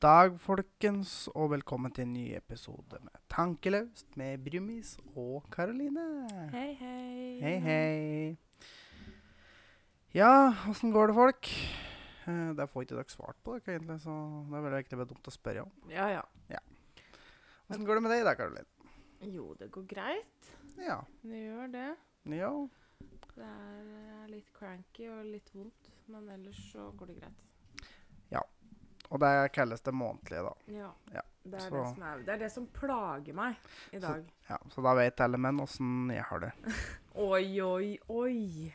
dag, folkens, og velkommen til en ny episode med Tankelaust med Brumis og Karoline. Hei, hei. Hei, hei. Ja, åssen går det, folk? Eh, Det får ikke dere svart på, dere, egentlig, så det er vel egentlig dumt å spørre om. Ja, ja. Åssen går det med deg da, Karoline? Jo, det går greit. Ja. Det gjør det. ja. Det er eh, litt cranky og litt vondt, men ellers så går det greit. Og det kalles det månedlige, da. Ja. Ja, Det, er det, så- som er, det er det som plager meg i Så- dag. Ja, Så da vet alle menn åssen jeg har det. Oi, oi, oi.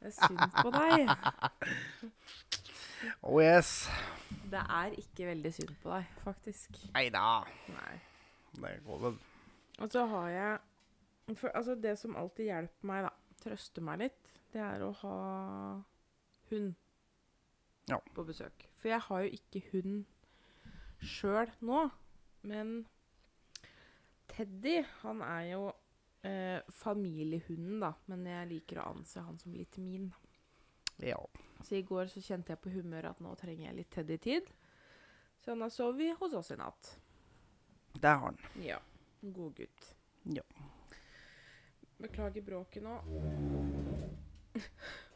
Det er synd på deg. Oh yes. Det er ikke veldig synd på deg, faktisk. Nei da. Nei. Det går vel. Og så har jeg for, Altså, det som alltid hjelper meg, da, trøster meg litt, det er å ha hund Ja. på besøk. For jeg har jo ikke hund sjøl nå, men Teddy, han er jo eh, familiehunden, da, men jeg liker å anse han som litt min. Ja. Så i går så kjente jeg på humøret at nå trenger jeg litt Teddy-tid. Så han har sovet hos oss i natt. Det har han. Ja. God gutt. Ja. Beklager bråket nå.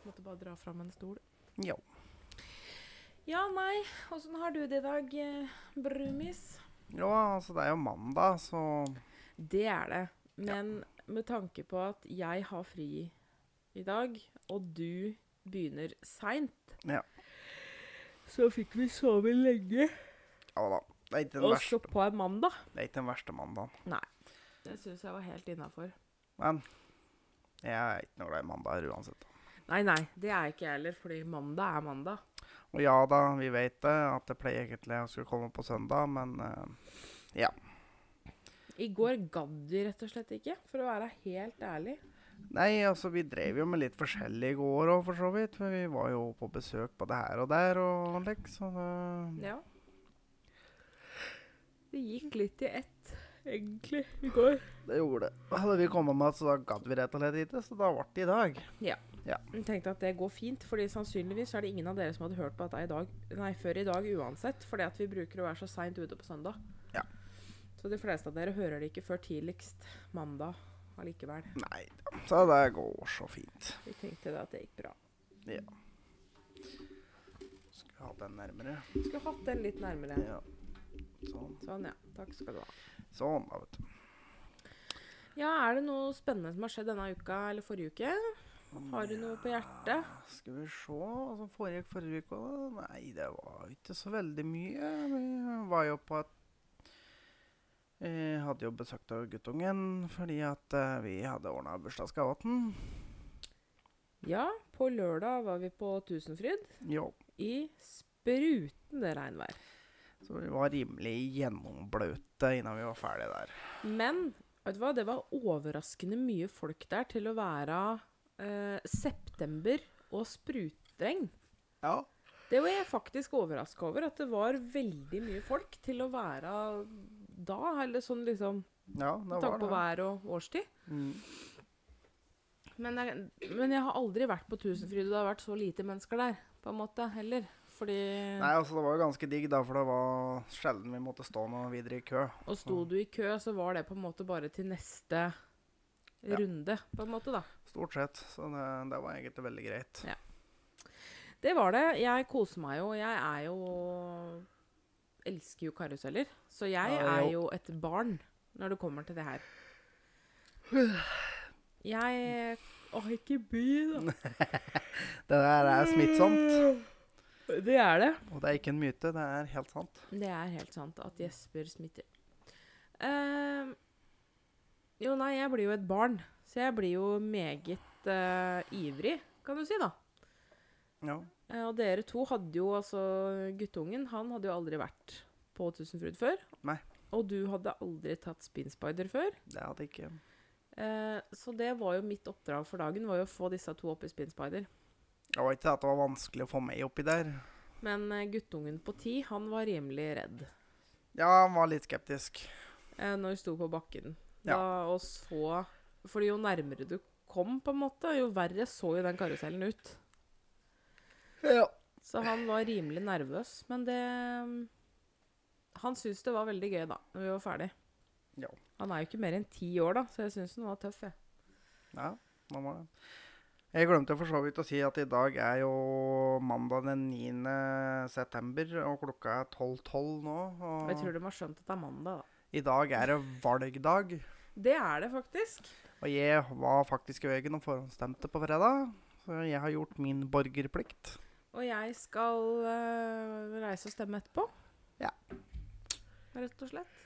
Måtte bare dra fram en stol. Ja. Ja, nei. Åssen har du det i dag, eh, Brumis? Jo, altså det er jo mandag, så Det er det. Men med tanke på at jeg har fri i dag, og du begynner seint, Ja. så fikk vi sove lenge. Ja da. Det er ikke den, Og verste, så på en mandag. det er ikke den verste mandagen. Det syns jeg var helt innafor. Men jeg er ikke noe glad i mandager uansett. Nei, nei, det er ikke jeg heller, fordi mandag er mandag. Og ja da, vi vet det, at det pleier egentlig å skulle komme på søndag, men eh, I går gadd vi rett og slett ikke, for å være helt ærlig. Nei, altså vi drev jo med litt forskjellig i går òg, for så vidt. Men vi var jo på besøk både her og der og like, så det Ja. Det gikk litt i ett, egentlig, i går. Det gjorde det. Hadde vi kommet med, så da gadd vi rett og slett ikke, så da ble det i dag. Jeg tenkte at det går fint, fordi sannsynligvis er det ingen av dere som hadde hørt på dette i dag, nei, før i dag uansett, fordi at vi bruker å være så seint ute på søndag. Ja. Så de fleste av dere hører det ikke før tidligst mandag allikevel. Nei da. Så det går så fint. Vi tenkte da at det gikk bra. Skulle hatt den nærmere. Skulle hatt den litt nærmere. Ja. Sånn. Sånn, ja. Takk skal du ha. Sånn, da, vet du. Ja, er det noe spennende som har skjedd denne uka eller forrige uke? Har du noe på hjertet? Skal vi se hva som foregikk forrige uke. da? Nei, det var ikke så veldig mye. Vi var jo på et eh, Hadde jo besøk av guttungen fordi at eh, vi hadde ordna bursdagsgave til han. Ja, på lørdag var vi på Tusenfryd Jo. i sprutende regnvær. Så vi var rimelig gjennombløte innan vi var ferdige der. Men vet du hva, det var overraskende mye folk der til å være eh, september og sprutregn. Ja. Det var jeg faktisk overraska over, at det var veldig mye folk til å være da. Eller sånn liksom Ja, Med det tanke var på det. vær og årstid. Mm. Men jeg, men jeg har aldri vært på Tusenfryd, og det har vært så lite mennesker der. på en måte, heller. Fordi Nei, altså Det var jo ganske digg, da, for det var sjelden vi måtte stå noe videre i kø. Og sto du i kø, så var det på en måte bare til neste Ja. runde, på en måte, da. Stort sett. Så det, det var egentlig veldig greit. Det var det. Jeg koser meg jo. Jeg er jo Elsker jo karuseller. Så jeg Ja, er jo. jo et barn når det kommer til det her. Jeg Åh, ikke by, da. Det der er smittsomt, Det er det. og det er ikke en myte. Det er helt sant. Det er helt sant at gjesper smitter. Ehm, jo, nei, jeg blir jo et barn, så jeg blir jo meget eh, ivrig, kan du si, da. Ja. Eh, og dere to hadde jo altså Guttungen han hadde jo aldri vært på Tusenfryd før. Nei. Og du hadde aldri tatt spinspider før. Det hadde ikke Eh, så det var jo mitt oppdrag for dagen, var jo å få disse to opp i spinspider. Det var ikke det at det var vanskelig å få meg oppi der. Men eh, guttungen på ti, han var rimelig redd. Ja, han var litt skeptisk. eh, når vi sto på bakken. Ja. Da, og så Fordi jo nærmere du kom, på en måte, jo verre så jo den karusellen ut. Ja. Så han var rimelig nervøs, men det mm, Han syntes det var veldig gøy, da, når vi var ferdig. Ja. Han er jo ikke mer enn ti år, da, så jeg syns han var tøff, jeg. Ja, man må det. Jeg glemte for så vidt å si at i dag er jo mandag den 9. september, og klokka er 12.12 nå. Og jeg tror Og de har skjønt at det er mandag, da. i dag er det valgdag, Det er det faktisk. og jeg var faktisk i veien og forhåndsstemte på fredag. Så jeg har gjort min borgerplikt. Og jeg skal eh, reise og stemme etterpå. Ja. Rett og slett.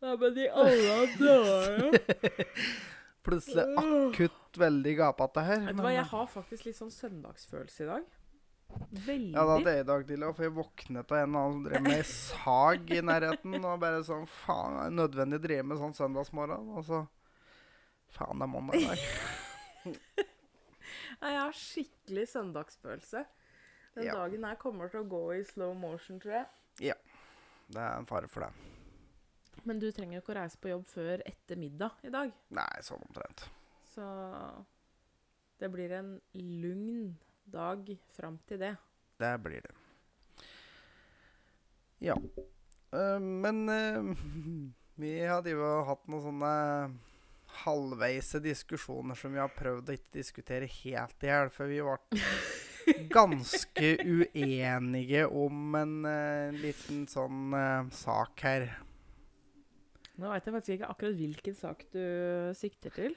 Nei, men i alle dager Plutselig akutt veldig gapete her. Mm. Vet du men- hva, jeg har faktisk litt sånn søndagsfølelse i dag. Veldig. Ja, da hadde jeg i dag til, for jeg våknet av en eller annen som drev med sag i nærheten, og bare sånn, faen, det er nødvendig å drive med sånn søndagsmorgen, og så, faen, det er mandag i dag. Nei, jeg har skikkelig søndagsfølelse. Den Ja. dagen her kommer til å gå i slow motion, tror jeg. Det er en fare for det. Men du trenger jo ikke å reise på jobb før etter middag i dag. Nei, sånn omtrent. Så det blir en lugn dag fram til det. Det blir det. Ja. Eh, men eh, vi hadde jo hatt noen sånne halvveise diskusjoner som vi har prøvd å ikke diskutere helt i hjel, for vi ble ganske uenige om en eh, liten sånn eh, sak her. Nå veit jeg faktisk ikke akkurat hvilken sak du sikter til.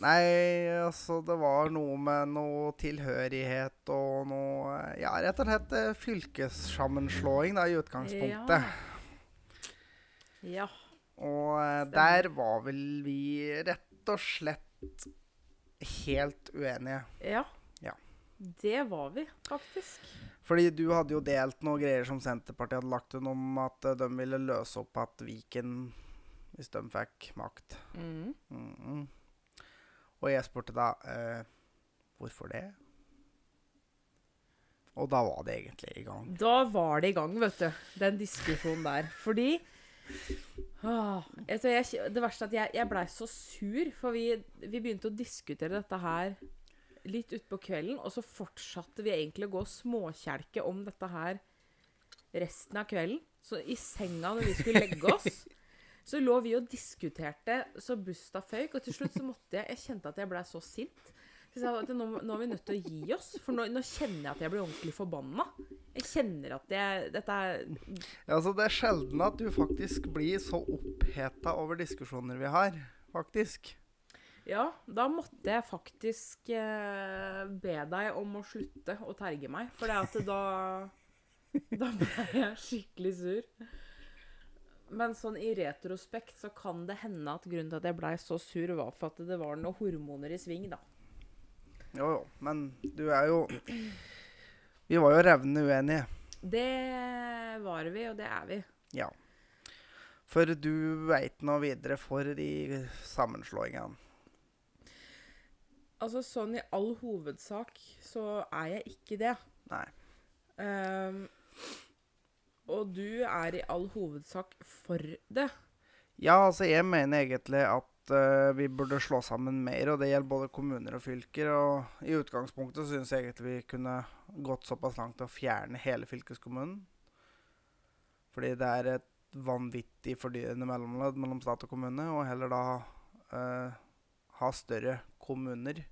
Nei, altså det var noe med noe tilhørighet og noe Ja, rett og slett eh, fylkessammenslåing da, i utgangspunktet. Ja. Og eh, der var vel vi rett og slett helt uenige. Ja. Ja. Det var vi, faktisk. Fordi du hadde jo delt noen greier som Senterpartiet hadde lagt inn om at eh, de ville løse opp at Viken Hvis de fikk makt. Mm. Mhm. Og jeg spurte da eh, hvorfor det? Og da var det egentlig i gang. Da var det i gang, vet du. Den diskusjonen der. Fordi ah, jeg tror jeg, Det verste er at jeg, jeg blei så sur, for vi, vi begynte å diskutere dette her litt utpå kvelden, og så fortsatte vi egentlig å gå og småkjelke om dette her resten av kvelden. Så i senga når vi skulle legge oss, så lå vi og diskuterte så busta føyk, og til slutt så måtte jeg Jeg kjente at jeg blei så sint. Så jeg sa at nå, nå er vi nødt til å gi oss, for nå, nå kjenner jeg at jeg blir ordentlig forbanna. Jeg kjenner at jeg, dette er Ja, altså Det er sjelden at du faktisk blir så oppheta over diskusjoner vi har, faktisk. Ja, da måtte jeg faktisk eh, be deg om å slutte å terge meg, for det at da Da ble jeg skikkelig sur. Men sånn i retrospekt så kan det hende at grunnen til at jeg blei så sur, var for at det var noen hormoner i sving, da. Jo, jo, men du er jo Vi var jo revnende uenige. Det var vi, og det er vi. Ja. For du veit noe videre for de sammenslåingene. Altså sånn i all hovedsak så er jeg ikke det. Nei. Ehm, og du er i all hovedsak for det. Ja, altså jeg mener egentlig at eh, vi burde slå sammen mer, og det gjelder både kommuner og fylker. Og i utgangspunktet syns jeg egentlig vi kunne gått såpass langt til å fjerne hele fylkeskommunen. Fordi det er et vanvittig fordyrende mellomledd mellom stat og kommune, og heller da eh, ha større kommuner.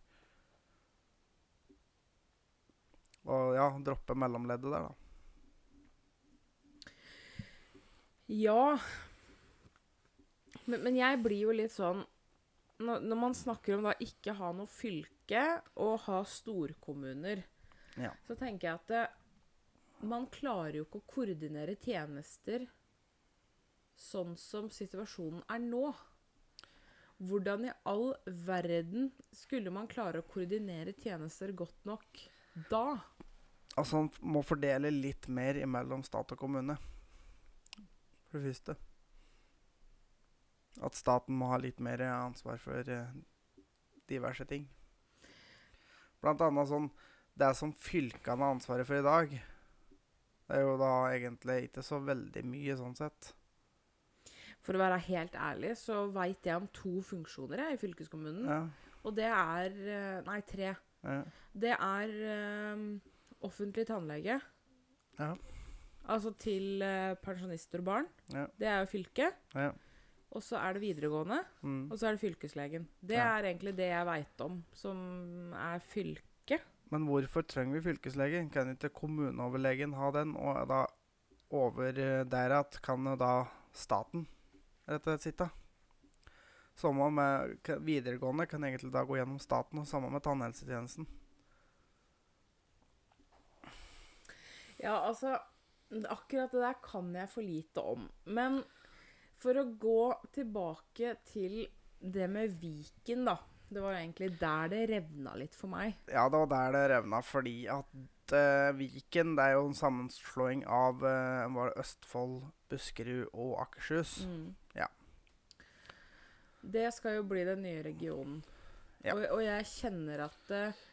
Og ja, droppe mellomleddet der, da. Ja. Men, men jeg blir jo litt sånn når, når man snakker om da ikke ha noe fylke og ha storkommuner, Ja. så tenker jeg at det, man klarer jo ikke å koordinere tjenester sånn som situasjonen er nå. Hvordan i all verden skulle man klare å koordinere tjenester godt nok da? Altså, han f- må fordele litt mer imellom stat og kommune. For det første. At staten må ha litt mer eh, ansvar for eh, diverse ting. Blant annet sånn Det som fylkene har ansvaret for i dag, det er jo da egentlig ikke så veldig mye sånn sett. For å være helt ærlig, så veit jeg om to funksjoner jeg, i fylkeskommunen. Ja, Og det er eh, Nei, tre. ehm, ja. Det er eh, offentlig tannlege. Ja. Altså til eh, pensjonister og barn. Ja. Det er jo fylket. Ja. Og så er det videregående, Mm. og så er det fylkeslegen. Det Ja. er egentlig det jeg veit om som er fylke. Men hvorfor trenger vi fylkeslegen? Kan ikke kommuneoverlegen ha den? Og da over eh, der at kan jo da staten rett og slett sitte. Samme med k- videregående kan egentlig da gå gjennom staten, og samme med tannhelsetjenesten. Ja, altså Akkurat det der kan jeg for lite om. Men for å gå tilbake til det med Viken, da. Det var egentlig der det revna litt for meg. Ja, det var der det revna, fordi at eh, Viken det er jo en sammenslåing av eh, var det Østfold, Buskerud og Akershus. Mm. Ja. Det skal jo bli den nye regionen. Ja. Og, og jeg kjenner at eh,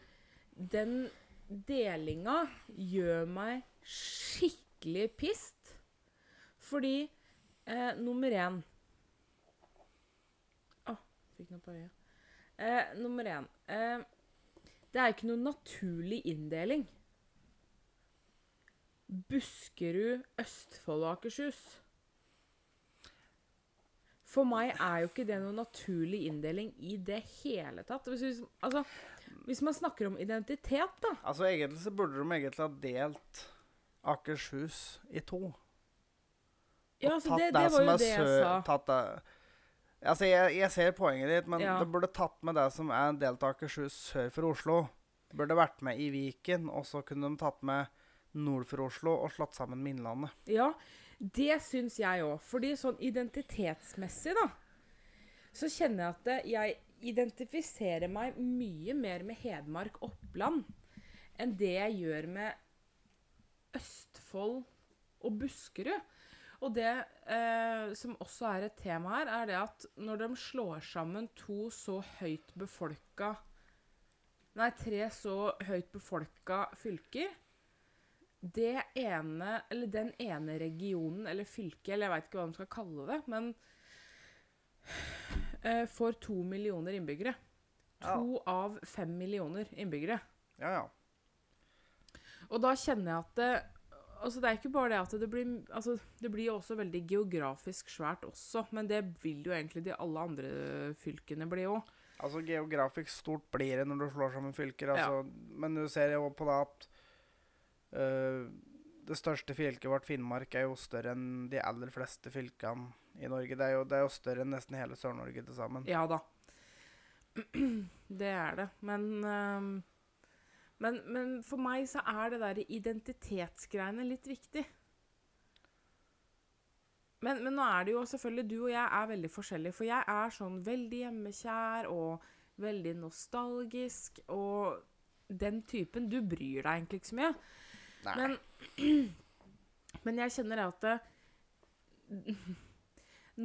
den delinga gjør meg skikkelig pissed. Fordi eh, nummer én Å, fikk noe på øyet. Eh, nummer én eh, Det er ikke noen naturlig inndeling. Buskerud, Østfold og Akershus. For meg er jo ikke det noen naturlig inndeling i det hele tatt. Hvis, hvis, altså, hvis man snakker om identitet, da. Altså egentlig så burde de egentlig ha delt Akershus i to. Ja, og altså, tatt det, det, det var som jo er det jeg sø- sa. Tatt det. Altså, jeg, jeg ser poenget ditt, men Ja. det burde tatt med det som er en del av Akershus sør for Oslo. Det Burde vært med i Viken, og så kunne de tatt med nord for Oslo og slått sammen med Innlandet. Ja, det syns jeg òg. Fordi sånn identitetsmessig, da, så kjenner jeg at eh, jeg identifiserer meg mye mer med Hedmark, Oppland, enn det jeg gjør med Østfold og Buskerud. Og det eh, som også er et tema her, er det at når de slår sammen to så høyt befolka Nei, tre så høyt befolka fylker, det ene, eller den ene regionen eller fylket, eller jeg veit ikke hva de skal kalle det, men eh, får to millioner innbyggere. To av fem millioner innbyggere. Ja, ja. Og da kjenner jeg at det, altså det er ikke bare det at det blir altså Det blir jo også veldig geografisk svært også, men det vil jo egentlig de alle andre fylkene bli òg. Altså geografisk stort blir det når du slår sammen fylker. Ja. Altså, Men du ser jo på det at øh, det største fylket vårt, Finnmark, er jo større enn de aller fleste fylkene i Norge. Det er jo, det er jo større enn nesten hele Sør-Norge til sammen. Ja da. Det er det. Men, ehm, men, men for meg så er det der identitetsgreiene litt viktig. Men, men nå er det jo selvfølgelig Du og jeg er veldig forskjellige. For jeg er sånn veldig hjemmekjær og veldig nostalgisk og den typen. Du bryr deg egentlig ikke så mye. Nei. Men, men jeg kjenner at det,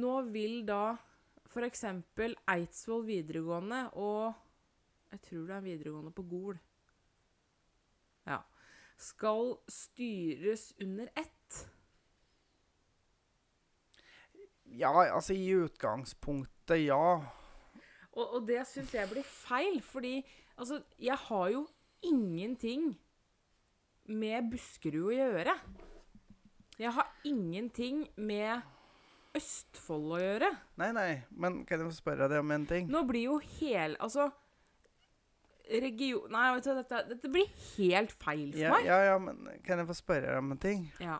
nå vil da f.eks. Eidsvoll videregående og Jeg tror det er videregående på Gol. Ja. Skal styres under ett. Ja, altså i utgangspunktet, ja. Og, og det syns jeg blir feil, fordi altså, jeg har jo ingenting med Buskerud å gjøre. Jeg har ingenting med Østfold å gjøre. Nei, nei, men kan jeg få spørre deg om en ting? Nå blir jo hel... Altså Region... Nei, vet du, hva, dette, dette blir helt feil for Ja, meg. ja, ja, men kan jeg få spørre deg om en ting? Ja.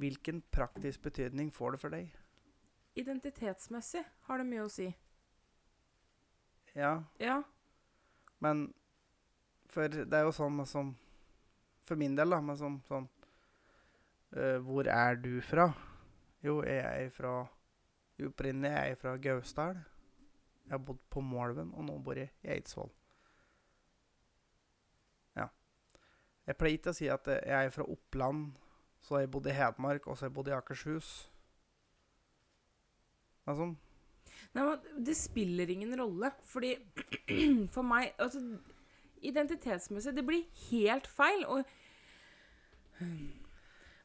Hvilken praktisk betydning får det for deg? Identitetsmessig har det mye å si. Ja, Ja. Men for det er jo sånn med som For min del, da, men som sånn eh, Hvor er du fra? Jo, jeg er fra Opprinnelig er jeg fra Gausdal. Jeg har bodd på Målven, og nå bor jeg i Eidsvoll. Ja. Jeg pleier ikke å si at eh, jeg er fra Oppland, så har jeg bodd i Hedmark, og så har jeg bodd i Akershus. Men sånn Nei, men det spiller ingen rolle, fordi for meg Altså, identitetsmessig Det blir helt feil. Og,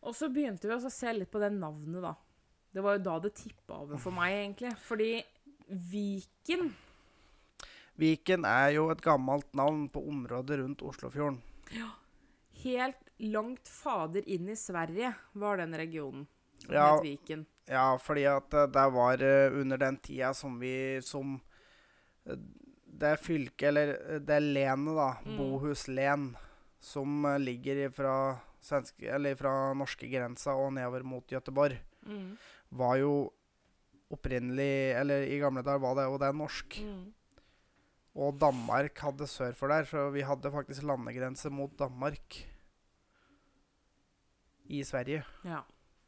og så begynte vi også å se litt på det navnet, da. Det var jo da det tippa over for meg, egentlig. Fordi Viken Viken er jo et gammelt navn på området rundt Oslofjorden. helt langt fader inn i Sverige var den regionen. Den Ja, het Viken. ja, fordi at eh, det var eh, under den tida som vi som eh, Det fylket, eller eh, det lenet, da, Mm. Bohuslen, som eh, ligger fra, svenske, eller fra norske grensa og nedover mot Gøteborg, Mm. var jo opprinnelig Eller i gamle dager var det jo det norsk. Mm. Og Danmark hadde sør for der, så vi hadde faktisk landegrense mot Danmark. I Sverige. Ja.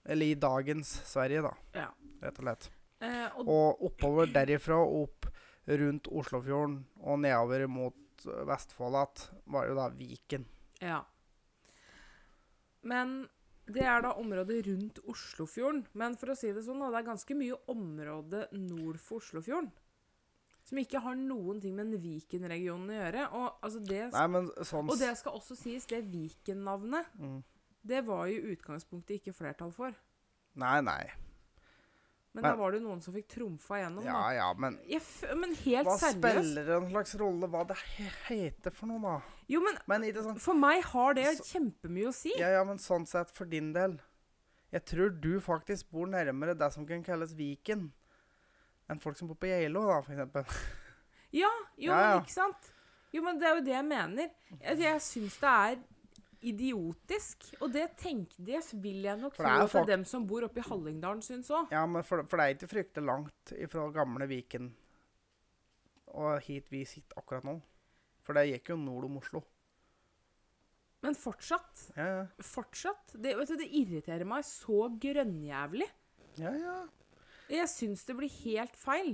Eller i dagens Sverige, da. Ja. Rett og slett. Eh, og, Og oppover derifra, opp rundt Oslofjorden og nedover mot eh, Vestfold igjen, var jo da Viken. ja. Men det er da området rundt Oslofjorden. Men for å si det sånn, da, det er ganske mye område nord for Oslofjorden. Som ikke har noen ting med den Viken-regionen å gjøre. Og, altså det, Nei, men sånn og det skal også sies, det Viken-navnet, mm. det var jo i utgangspunktet ikke flertall for. Nei, nei. Men Men- da var det noen som fikk trumfa igjennom. Ja da. ja, men Jeg f men helt hva seriøst. spiller en slags rolle hva det he heter for noe, da? Jo, men Men ikke sant for meg har det Så- kjempemye å si. Ja, ja, men sånn sett for din del. Jeg tror du faktisk bor nærmere det som kan kalles Viken, enn folk som bor på Geilo, da, for eksempel. Ja, jo, Ja, ja. men ikke sant? Jo, men det er jo det jeg mener. Jeg, jeg syns det er idiotisk. Og det tenk, det vil jeg nok For tro det er jo at fak- dem som bor oppe i Hallingdalen, syns òg. Ja, men for, for det er ikke fryktelig langt ifra gamle Viken og hit vi sitter akkurat nå. For det gikk jo nord om Oslo. Men fortsatt. Ja, ja. Fortsatt. Det, vet du, det irriterer meg så grønnjævlig. ja, ja. Jeg syns det blir helt feil.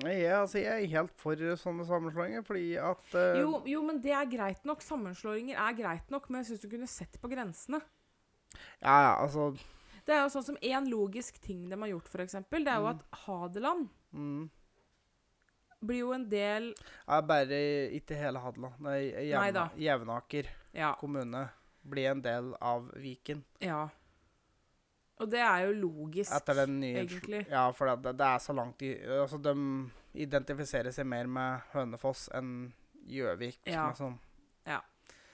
Nei, Jeg, altså, jeg er helt for sånne sammenslåinger, fordi at eh, Jo, jo, men det er greit nok. Sammenslåinger er greit nok, men jeg syns du kunne sett på grensene. Ja, ja, altså Det er jo sånn som én logisk ting de har gjort, f.eks. Det er jo at Hadeland mm. blir jo en del Jeg er bare ikke hele Hadeland. Nei, Nei Jevna, da. Jevnaker Ja. kommune blir en del av Viken. Ja. Og det er jo logisk. Etter den nye egentlig. Ja, for det, det er så langt i Altså, de identifiserer seg mer med Hønefoss enn Gjøvik, Ja. liksom. Ja.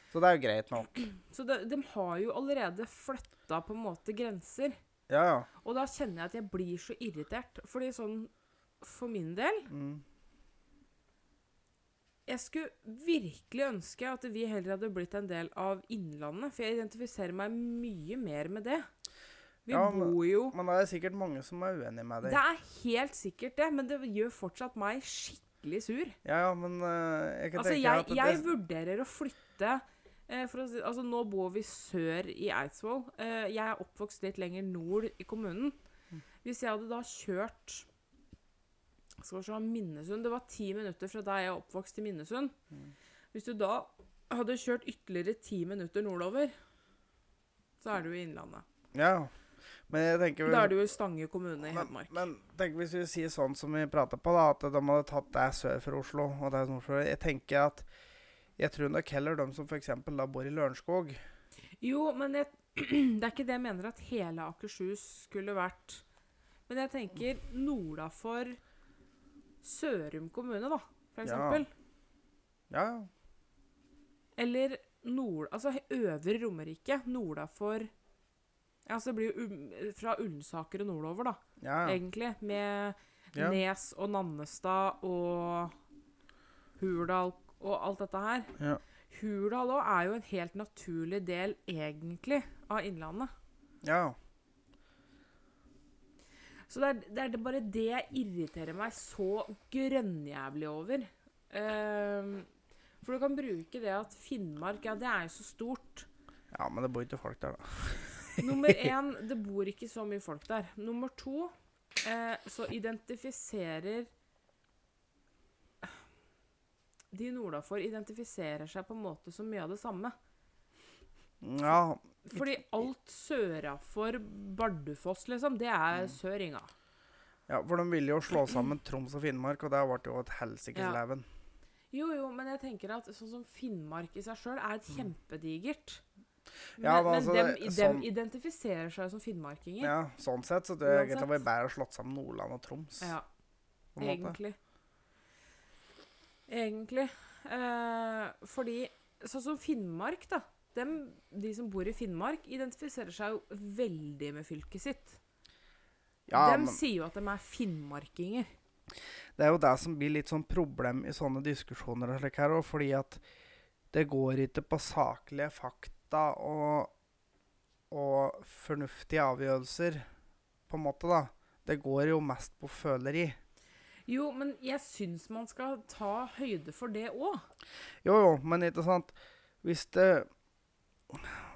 Så det er jo greit nok. Så de, de har jo allerede flytta på en måte grenser. Ja, ja. Og da kjenner jeg at jeg blir så irritert. Fordi sånn for min del Mm. Jeg skulle virkelig ønske at vi heller hadde blitt en del av Innlandet. For jeg identifiserer meg mye mer med det. Vi Ja, men- bor jo Men det er sikkert mange som er uenige med deg. Det er helt sikkert det, men det gjør fortsatt meg skikkelig sur. Ja, ja, men eh, jeg kan Altså, tenke jeg, at det, jeg vurderer å flytte eh, for å si, altså, Nå bor vi sør i Eidsvoll. Eh, jeg er oppvokst litt lenger nord i kommunen. Hvis jeg hadde da kjørt skal vi se, Minnesund Det var ti minutter fra der jeg er oppvokst, til Minnesund. Hvis du da hadde kjørt ytterligere ti minutter nordover, så er du i Innlandet. Ja. Men jeg tenker Da er du i Stange kommune i men, Hedmark. men tenk hvis vi sier sånn som vi prater på, da, at de hadde tatt deg sør for Oslo og deg nord for Jeg tenker at jeg tror nok heller de som f.eks. da bor i Lørenskog Jo, men jeg, det er ikke det jeg mener at hele Akershus skulle vært. Men jeg tenker nordafor Sørum kommune, da, Ja. for eksempel. Ja, ja. Eller nord... Altså he- Øvre Romerike. Nordafor ja, altså Det blir jo um, fra Ullensaker og nordover, da, ja, ja. egentlig. Med Ja. Nes og Nannestad og Hurdal og alt dette her. Ja. Hurdal òg er jo en helt naturlig del, egentlig, av Innlandet. ja. Så det er, det er det bare det jeg irriterer meg så grønnjævlig over. Ehm, for du kan bruke det at Finnmark, ja, det er jo så stort. Ja, men det bor ikke folk der, da. Nummer én, det bor ikke så mye folk der. Nummer to, eh, så identifiserer De nordafor identifiserer seg på en måte som mye av det samme. Ja, Fordi alt sørafor Bardufoss, liksom, det er søringa. ja for de ville jo slå sammen Troms og Finnmark, og det ble jo et helsikes Ja. leven. Jo, jo, men jeg tenker at sånn som Finnmark i seg sjøl er et kjempedigert. Men, Mm. Ja, men men altså, dem, det- dem sånn- identifiserer seg som finnmarkinger. Ja, sånn sett så tror jeg egentlig det Uansett. var bedre å slått sammen Nordland og Troms. Ja, på en måte. egentlig. Egentlig. Eh, fordi sånn som Finnmark, da. dem, de som bor i Finnmark, identifiserer seg jo veldig med fylket sitt. Ja, de men sier jo at de er finnmarkinger. det er jo det som blir litt sånn problem i sånne diskusjoner og slik her òg, fordi at det går ikke på saklige fakta og, og fornuftige avgjørelser, på en måte, da. Det går jo mest på føleri. Jo, men jeg syns man skal ta høyde for det òg. Jo, jo, men ikke sant Hvis det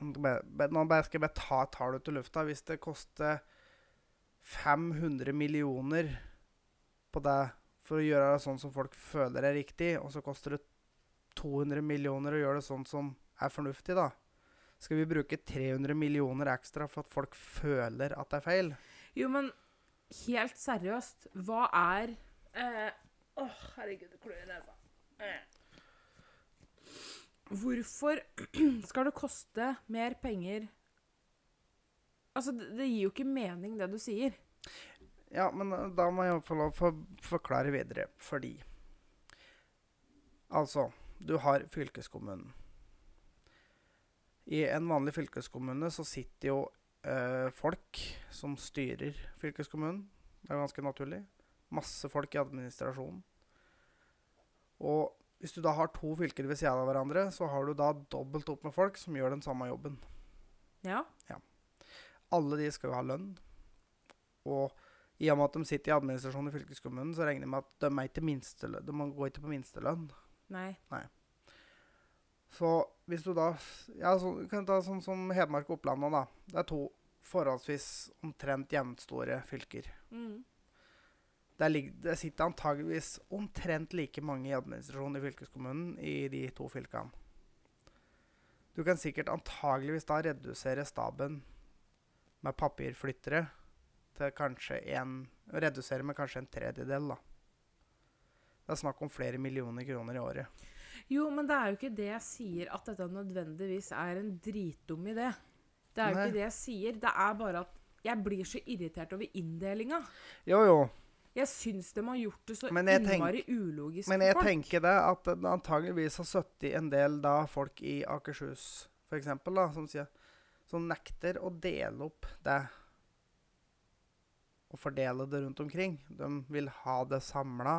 Nå bare- bare- Nå bare skal jeg bare ta et tall ut i lufta. Hvis det koster 500 millioner på det for å gjøre det sånn som folk føler er riktig, og så koster det 200 millioner å gjøre det sånn som er fornuftig, da Skal vi bruke 300 millioner ekstra for at folk føler at det er feil? Jo, men helt seriøst, hva er eh, Åh, herregud, det klør i nesa. Eh. Hvorfor skal det koste mer penger Altså, det, det gir jo ikke mening, det du sier. Ja, men eh, da må jeg få lov å forklare videre, fordi Altså, du har fylkeskommunen. I en vanlig fylkeskommune så sitter jo eh, folk som styrer fylkeskommunen. Det er ganske naturlig. Masse folk i administrasjonen. Og hvis du da har to fylker ved siden av hverandre, så har du da dobbelt opp med folk som gjør den samme jobben. Ja. Alle de skal jo ha lønn. Og i og med at de sitter i administrasjonen i fylkeskommunen, så regner jeg med at de, er ikke minstelønn. de må gå ikke på minstelønn. Nei. Så hvis du da ja, så, Du kan ta sånn som Hedmark og Oppland nå, da. Det er to forholdsvis omtrent jevnstore fylker. Mm. Der, lig- det sitter antageligvis omtrent like mange i administrasjonen i fylkeskommunen i de to fylkene. Du kan sikkert antageligvis da redusere staben med papirflyttere til kanskje en Redusere med kanskje en tredjedel, da. Det er snakk om flere millioner kroner i året. Jo, men det er jo ikke det jeg sier at dette nødvendigvis er en dritdum idé. Det er jo Nei. ikke det jeg sier. Det er bare at jeg blir så irritert over inndelinga. Jo, jo. Jeg syns de har gjort det så Men jeg innmari ulogisk Men jeg for folk. tenker det at det antageligvis har sittet en del da folk i Akershus for eksempel, da, som, sier, som nekter å dele opp det og fordele det rundt omkring. De vil ha det samla.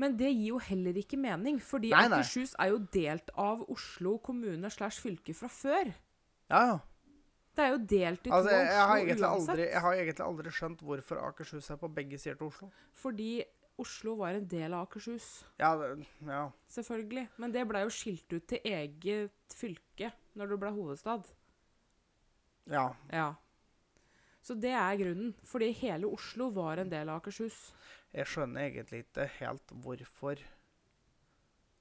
Men det gir jo heller ikke mening, fordi Nei, nei. Akershus er jo delt av Oslo kommune slash fylke fra før. Ja, ja. Det er jo delt i Altså, to jeg, jeg, har Oslo egentlig uansett. aldri, jeg har egentlig aldri skjønt hvorfor Akershus er på begge sider til Oslo. Fordi Oslo var en del av Akershus, Ja, det, ja. selvfølgelig. Men det blei jo skilt ut til eget fylke når det ble hovedstad. ja. Ja. Så det er grunnen. Fordi hele Oslo var en del av Akershus. Jeg skjønner egentlig ikke helt hvorfor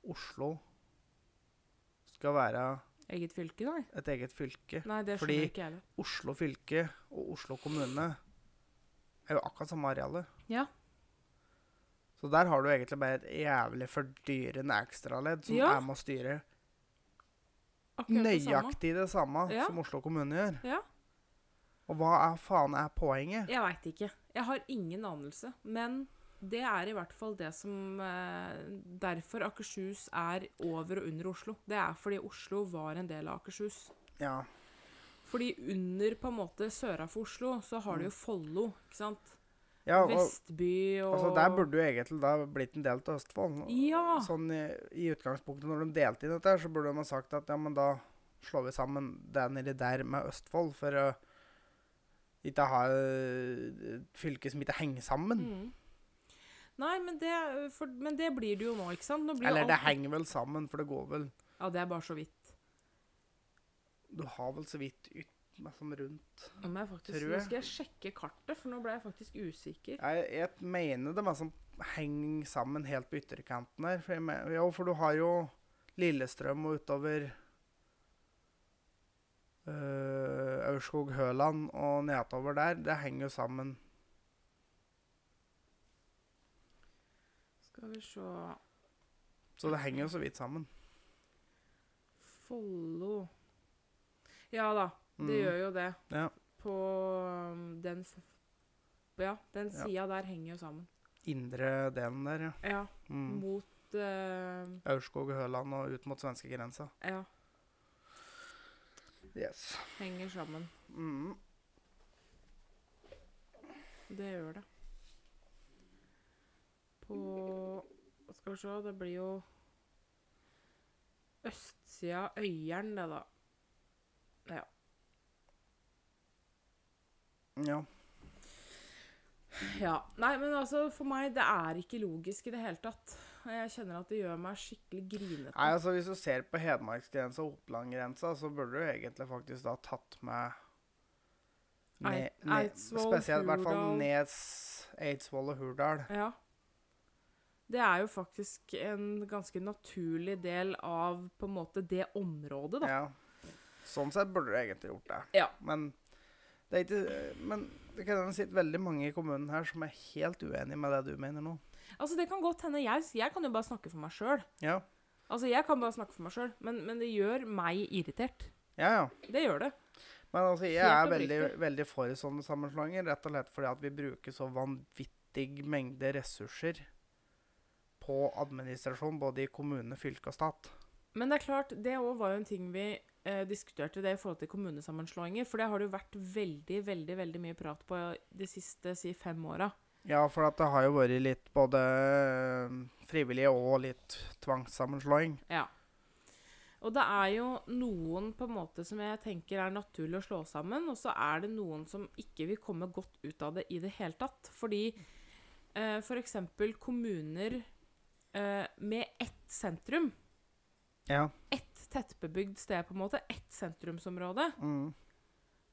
Oslo skal være Eget fylke, nei. et eget fylke. Nei, det skjønner Fordi- ikke jeg heller. Oslo fylke og Oslo kommune er jo akkurat samme arealet. Ja. Så der har du egentlig bare et jævlig fordyrende ekstraledd som Ja. er med å styre Akkurat det samme. nøyaktig det samme Ja. som Oslo kommune gjør. Ja. Og hva er faen er poenget? Jeg veit ikke. Jeg har ingen anelse. Men det er i hvert fall det som eh, Derfor Akershus er over og under Oslo. Det er fordi Oslo var en del av Akershus. Ja. Fordi under på en måte søra for Oslo, så har du jo Follo, ikke sant? Mm. ja og, Vestby og altså der burde jo egentlig da blitt en del av Østfold. Ja. Sånn i, i utgangspunktet, når de delte inn dette, her, så burde de ha sagt at ja, men da slår vi sammen det nedi der med Østfold, for å ikke ha øh, et fylke som ikke henger sammen. mm. Nei, men det, for, men det blir det jo nå, ikke sant? Nå blir jo Eller det alt- henger vel sammen, for det går vel Ja, det er bare så vidt. Du har vel så vidt ytt meg som rundt Nå, må jeg faktisk, Tror nå jeg. skal jeg sjekke kartet, for nå ble jeg faktisk usikker. Jeg, jeg mener det er meg som henger sammen helt på ytterkanten her. For, jeg me- jo, for du har jo Lillestrøm og utover øh, Aurskog-Høland og nedover der. Det henger jo sammen. Skal vi se Så det henger jo så vidt sammen. Follo Ja da, det Mm. gjør jo det. Ja. På um, den f- Ja, den Ja. sida der henger jo sammen. Mm, Indre delen der, ja. Ja, Mm. mot eh, Aurskog-Høland og ut mot svenskegrensa. Ja. Yes. henger sammen. Mm. Det gjør det. På Skal vi se, det blir jo østsida av Øyeren, det, da. Ja. Ja. Nei, men altså, for meg, det er ikke logisk i det hele tatt. Og Jeg kjenner at det gjør meg skikkelig grinete. Nei, altså Hvis du ser på hedmarksgrensa og Oppland-grensa, så burde du egentlig faktisk da tatt med ne- Eit- ne- Eidsvoll, Spesielt i hvert fall Hurdal. Nes, Eidsvoll og Hurdal. Ja. Det er jo faktisk en ganske naturlig del av på en måte det området, da. Ja. Sånn sett burde du egentlig gjort det. Ja. Men det er ikke Men det kan hende sitte veldig mange i kommunen her som er helt uenig med det du mener nå. Altså, det kan godt hende. Jeg, jeg kan jo bare snakke for meg sjøl. Ja. Altså, jeg kan bare snakke for meg sjøl, men, men det gjør meg irritert. Ja, ja. Det gjør det. Men altså, jeg er Helt veldig, oppriktig. veldig for sånne sammenslåinger, rett og slett fordi at vi bruker så vanvittig mengde ressurser på administrasjon, både i kommune, fylke og stat. Men det er klart, det òg var jo en ting vi eh, diskuterte det i forhold til kommunesammenslåinger. For det har det jo vært veldig, veldig veldig mye prat på de siste si, fem åra. Ja, for at det har jo vært litt både øh, frivillige og litt tvangssammenslåing. Ja. Og det er jo noen på en måte som jeg tenker er naturlig å slå sammen, og så er det noen som ikke vil komme godt ut av det i det hele tatt. Fordi eh, f.eks. kommuner eh, med ett sentrum, Ja. ett tettbebygd sted, på en måte, ett sentrumsområde, Mm.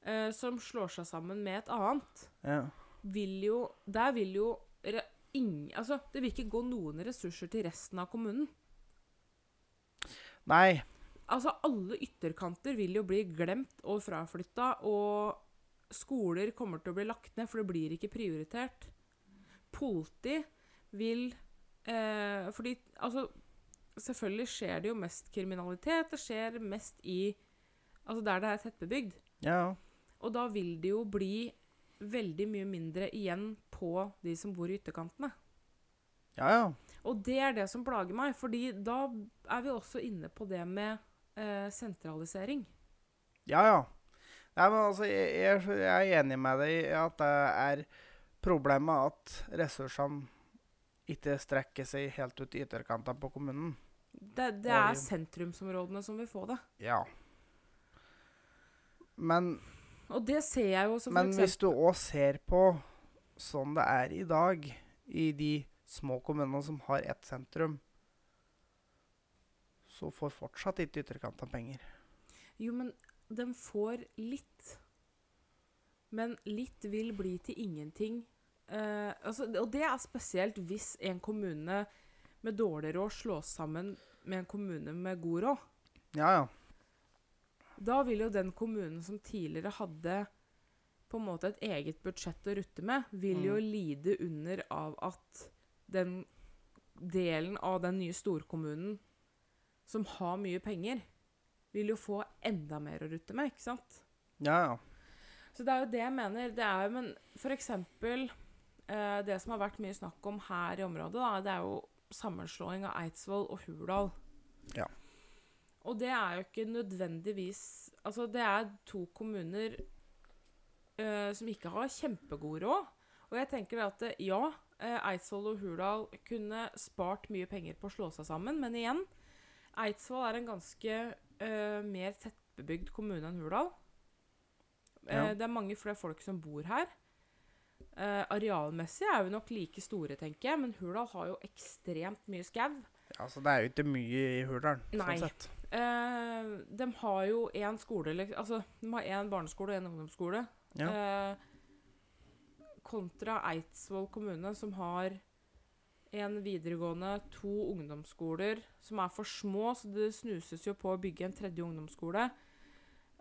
eh, som slår seg sammen med et annet, ja. vil jo Der vil jo re, ing, Altså, det vil ikke gå noen ressurser til resten av kommunen. Nei. Altså, alle ytterkanter vil jo bli glemt og fraflytta, og skoler kommer til å bli lagt ned, for det blir ikke prioritert. Politi vil eh, Fordi, altså Selvfølgelig skjer det jo mest kriminalitet. Det skjer mest i Altså der det er tettbebygd. Ja. Og da vil det jo bli veldig mye mindre igjen på de som bor i ytterkantene. Ja, ja. Og det er det som plager meg, fordi da er vi også inne på det med eh, sentralisering. Ja, ja. Nei, men altså, jeg, jeg, jeg er enig med deg i at det er problemet at ressursene ikke strekker seg helt ut i ytterkantene på kommunen. Det, det Oi. er sentrumsområdene som vil få det. Ja. Men, Og det ser jeg jo som men for hvis eksempel- du òg ser på sånn det er i dag i de små kommunene som har ett sentrum, så får fortsatt ikke ytterkantene penger. Jo, men den får litt. Men litt vil bli til ingenting. Eh, altså, og det er spesielt hvis en kommune med dårlig råd slås sammen med en kommune med god råd. Ja, ja. Da vil jo den kommunen som tidligere hadde på en måte et eget budsjett å rutte med, vil jo lide under av at den delen av den nye storkommunen som har mye penger, vil jo få enda mer å rutte med, ikke sant? Ja, ja. Så det er jo det jeg mener. Det er jo, men for eksempel eh, det som har vært mye snakk om her i området, da, det er jo sammenslåing av Eidsvoll og Hurdal. Ja. Og det er jo ikke nødvendigvis Altså, det er to kommuner eh, som ikke har kjempegod råd. Og jeg tenker at eh, ja, eh, Eidsvoll og Hurdal kunne spart mye penger på å slå seg sammen, men igjen Eidsvoll er en ganske eh, mer tettbebygd kommune enn Hurdal. Eh, Ja. Det er mange flere folk som bor her. Eh, arealmessig er vi nok like store, tenker jeg, men Hurdal har jo ekstremt mye skau. Altså, det er jo ikke mye i Hurdalen, Nei. sånn sett. Eh, de har jo én skole eller- Altså, de har én barneskole og én ungdomsskole. Ja. Eh, kontra Eidsvoll kommune, som har en videregående, to ungdomsskoler, som er for små, så det snuses jo på å bygge en tredje ungdomsskole.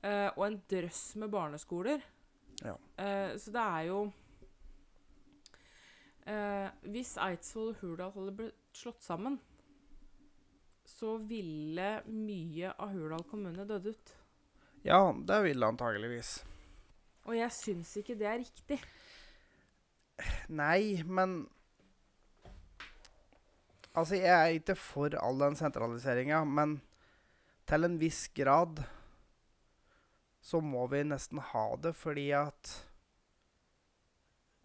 Eh, og en drøss med barneskoler. Ja. Eh, så det er jo eh, Hvis Eidsvoll og Hurdal hadde blitt slått sammen, så ville mye av Hurdal kommune dødd ut. Ja, det vil det antageligvis. Og jeg syns ikke det er riktig. Nei, men Altså, jeg er ikke for all den sentraliseringa, men til en viss grad så må vi nesten ha det fordi at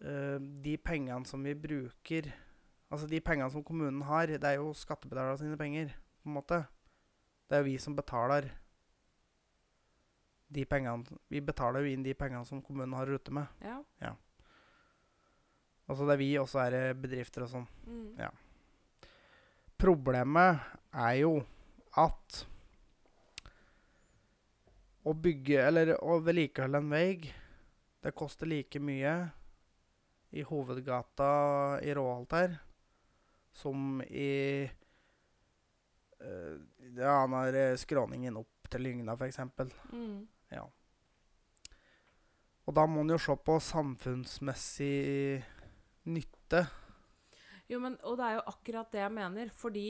eh, de pengene som vi bruker Altså de pengene som kommunen har, det er jo skattebetalerne sine penger, på en måte. Det er jo vi som betaler de pengene Vi betaler jo inn de pengene som kommunen har å rutte med. Ja. Altså det er vi, og så er det bedrifter og sånn. Mm. Ja. Problemet er jo at å bygge eller å vedlikeholde en vei, det koster like mye i hovedgata i Råholt her som i eh, Ja, han har eh, skråningen opp til Lygna, for eksempel. Mm. Og da må en jo se på samfunnsmessig nytte. Jo, men, og det er jo akkurat det jeg mener. Fordi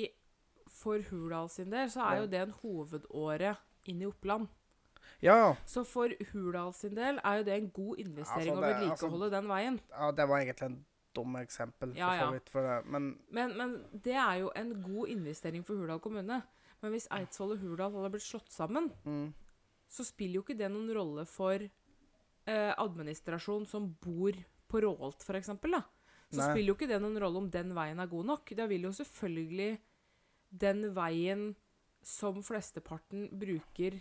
for Hurdal sin del så er Ja. jo det en hovedåre inn i Oppland. Ja, ja. Så for Hurdal sin del er jo det en god investering Altså, å det er- vedlikeholde den veien. Ja, det var egentlig en dum eksempel, Ja, for så ja. vidt. For det. Men Men, men det er jo en god investering for Hurdal kommune. Men hvis Eidsvoll og Hurdal hadde blitt slått sammen, mm, så spiller jo ikke det noen rolle for eh, administrasjon som bor på Råholt, f.eks. Så Nei. spiller jo ikke det noen rolle om den veien er god nok. Da vil jo selvfølgelig den veien som flesteparten bruker,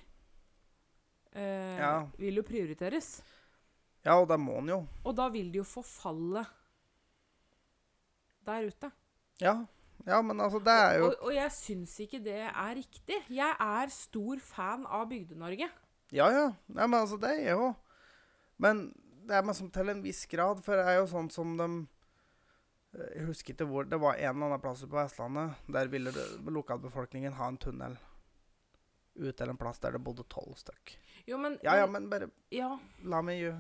eh, Ja. vil jo prioriteres. Ja, og det må en jo. Og da vil det jo forfalle der ute. Ja. ja, men altså, det er jo Og, og jeg syns ikke det er riktig. Jeg er stor fan av Bygde-Norge. Ja, ja. Nei, men altså, det er jo Men det er meg som til en viss grad, for det er jo sånn som de Jeg husker ikke hvor Det var en eller annen plass på Vestlandet. Der ville det- lokalbefolkningen ha en tunnel ut til en plass der det bodde tolv stykk. Jo, men Ja, ja, men bare ja. La meg jo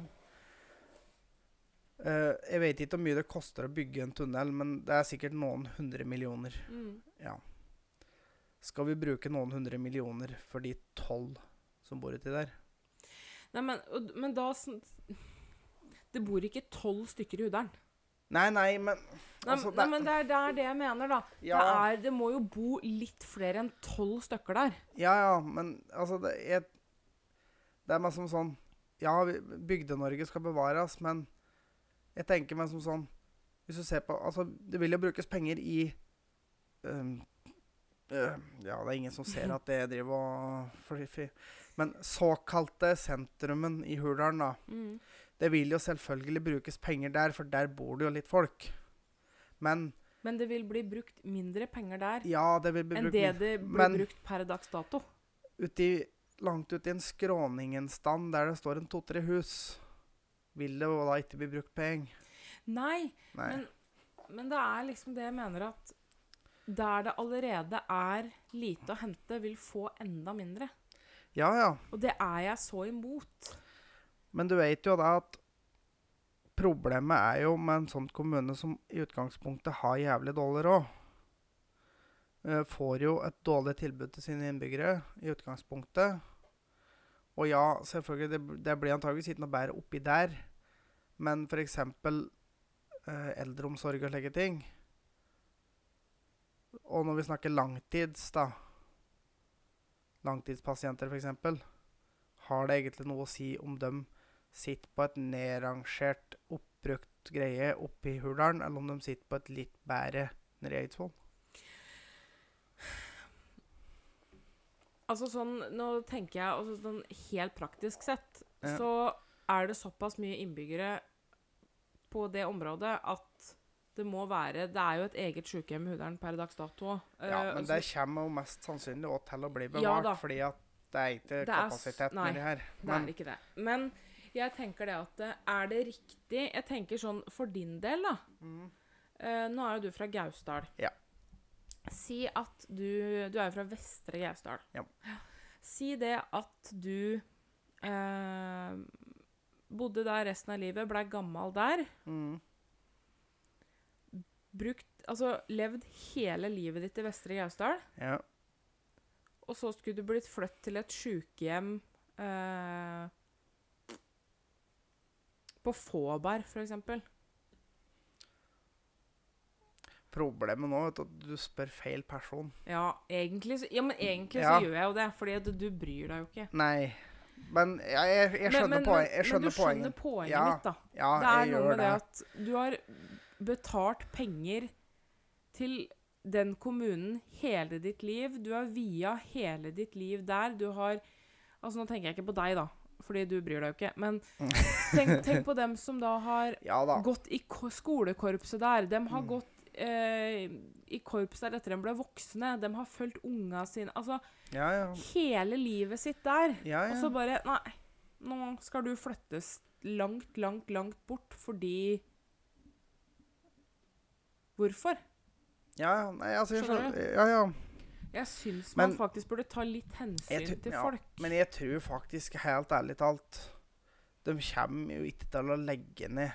Eh, Jeg vet ikke hvor mye det koster å bygge en tunnel, men det er sikkert noen hundre millioner. Mm. Skal vi bruke noen hundre millioner for de tolv som bor uti der? Nei, men, og, men da sn- Det bor ikke tolv stykker i Uddern. Nei, nei, men Nei, Altså, nei, det- men det er, det er det jeg mener, da. Ja, Det, er, det må jo bo litt flere enn tolv stykker der. ja, ja men altså Det er, det er meg som sånn Ja, vi- Bygde-Norge skal bevares, men jeg tenker meg som sånn Hvis du ser på Altså, det vil jo brukes penger i øhm, øh, Ja, det er ingen som ser at det driver og fri- fri- Men såkalte sentrumen i Hurdalen, da. Det vil jo selvfølgelig brukes penger der, for der bor det jo litt folk. Men Men det vil bli brukt mindre penger der ja, det vil bli enn brukt det mye- det blir men- brukt per dags dato. uti, langt uti en skråningenstand der det står en to-tre hus, vil det jo da ikke bli brukt penger. Nei, Nei. Men- men det er liksom det jeg mener at der det allerede er lite å hente, vil få enda mindre. ja, ja. Og det er jeg så imot. Men du vet jo da at problemet er jo med en sånn kommune som i utgangspunktet har jævlig dårlig råd. eh, Får jo et dårlig tilbud til sine innbyggere i utgangspunktet. Og ja, selvfølgelig, det, bl- det blir antageligvis ikke noe bedre oppi der. Men f.eks. Eh, eldreomsorg og slike ting. Og når vi snakker langtids, da Langtidspasienter, f.eks. Har det egentlig noe å si om de sitter på et nedrangert, oppbrukt greie oppe i Hurdalen, eller om de sitter på et litt bedre nede i Eidsvoll? Altså sånn, nå tenker jeg altså sånn helt praktisk sett, Ja. så er det såpass mye innbyggere på det området at det må være Det er jo et eget sykehjem i Hudern per dags dato. eh, Ja, men og det så- kommer jo mest sannsynlig også til å bli bevart, Ja da. fordi at det er ikke Det er s- kapasitet nei, nedi her. det er Men ikke det. Men jeg tenker det at eh, Er det riktig Jeg tenker sånn for din del, da. Mhm. Eh, nå er jo du fra Gausdal. Ja. Si at du Du er jo fra Vestre Gausdal. Ja. Si det at du eh, bodde der resten av livet, blei gammel der. mm, Brukt Altså levd hele livet ditt i Vestre Gausdal. ja, Og så skulle du blitt flytt til et sykehjem eh, På Fåberg, for eksempel. problemet nå er at du spør feil person. Ja, egentlig, så, ja, men egentlig Ja. så gjør jeg jo det, fordi at du bryr deg jo ikke. Nei, Men jeg, jeg, jeg skjønner, men, men, poen, jeg men du skjønner skjønner poenget. poenget Ja, mitt, da. Ja, Det er jeg noe gjør med det det. at du har betalt penger til den kommunen hele ditt liv. Du har via hele ditt liv der. Du har Altså, nå tenker jeg ikke på deg, da, fordi du bryr deg jo ikke. Men tenk, tenk på dem som da har Ja da. gått i ko- skolekorpset der. De Mm. har gått eh, i korps der etter de ble voksne. De har fulgt unga sine Altså Ja, ja. hele livet sitt der. Mm. ja, Og ja. så bare Nei, nå skal du flyttes langt, langt, langt bort fordi Hvorfor? ja, ja. Nei, altså, jeg Skjønner skjønner. Ja, ja. Jeg syns man Men- faktisk burde ta litt hensyn Jeg tror- til ja, folk. Men jeg tror faktisk, helt ærlig talt De kommer jo ikke til å legge ned.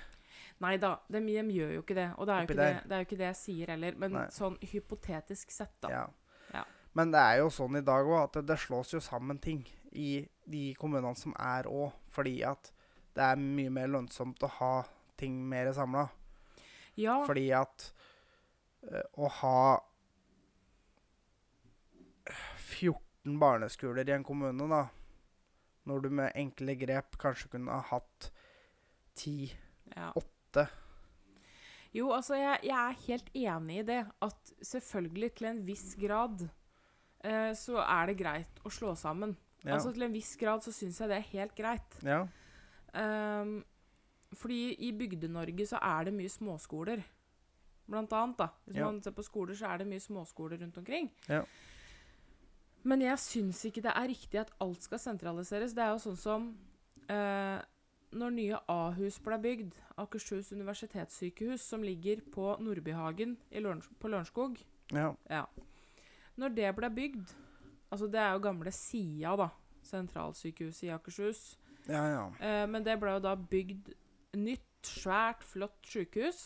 Nei da, de, gjør jo ikke det. Og det er jo Oppi ikke det, der. det er jo ikke det jeg sier heller. Men Nei. sånn hypotetisk sett, da. Ja. Ja. Men det er jo sånn i dag òg at det, det slås jo sammen ting i de kommunene som er òg, fordi at det er mye mer lønnsomt å ha ting mer samla. Ja, Fordi at eh, å ha 14 barneskoler i en kommune, da, når du med enkle grep kanskje kunne ha hatt 10 ja. åtte. Jo, altså, jeg, jeg er helt enig i det. At selvfølgelig, til en viss grad, eh, så er det greit å slå sammen. Ja. Altså, til en viss grad så syns jeg det er helt greit. ja. Ehm, fordi i Bygde-Norge så er det mye småskoler. Blant annet, da. Hvis Ja. man ser på skoler, så er det mye småskoler rundt omkring. Ja. Men jeg syns ikke det er riktig at alt skal sentraliseres. Det er jo sånn som eh, når nye Ahus ble bygd, Akershus universitetssykehus, som ligger på Nordbyhagen i Lørensk- på Lørenskog ja. ja. Når det ble bygd Altså, det er jo gamle SIA, da. Sentralsykehuset i Akershus. Ja, ja. Eh, men det ble jo da bygd nytt, svært, flott sykehus.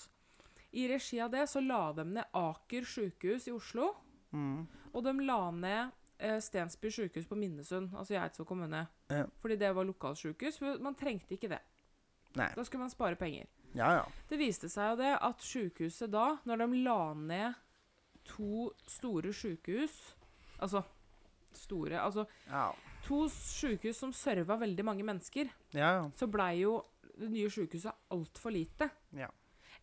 I regi av det så la de ned Aker sykehus i Oslo, Mm. og de la ned eh, Stensby sykehus på Minnesund, altså i Eidsvoll kommune. Ja. Fordi det var lokalsykehus. for Man trengte ikke det. Nei. Da skulle man spare penger. Ja, ja. Det viste seg jo det at sykehuset da, når de la ned to store sykehus Altså store Altså Ja, to sykehus som serva veldig mange mennesker ja. ja. så blei jo det nye sykehuset altfor lite. Ja.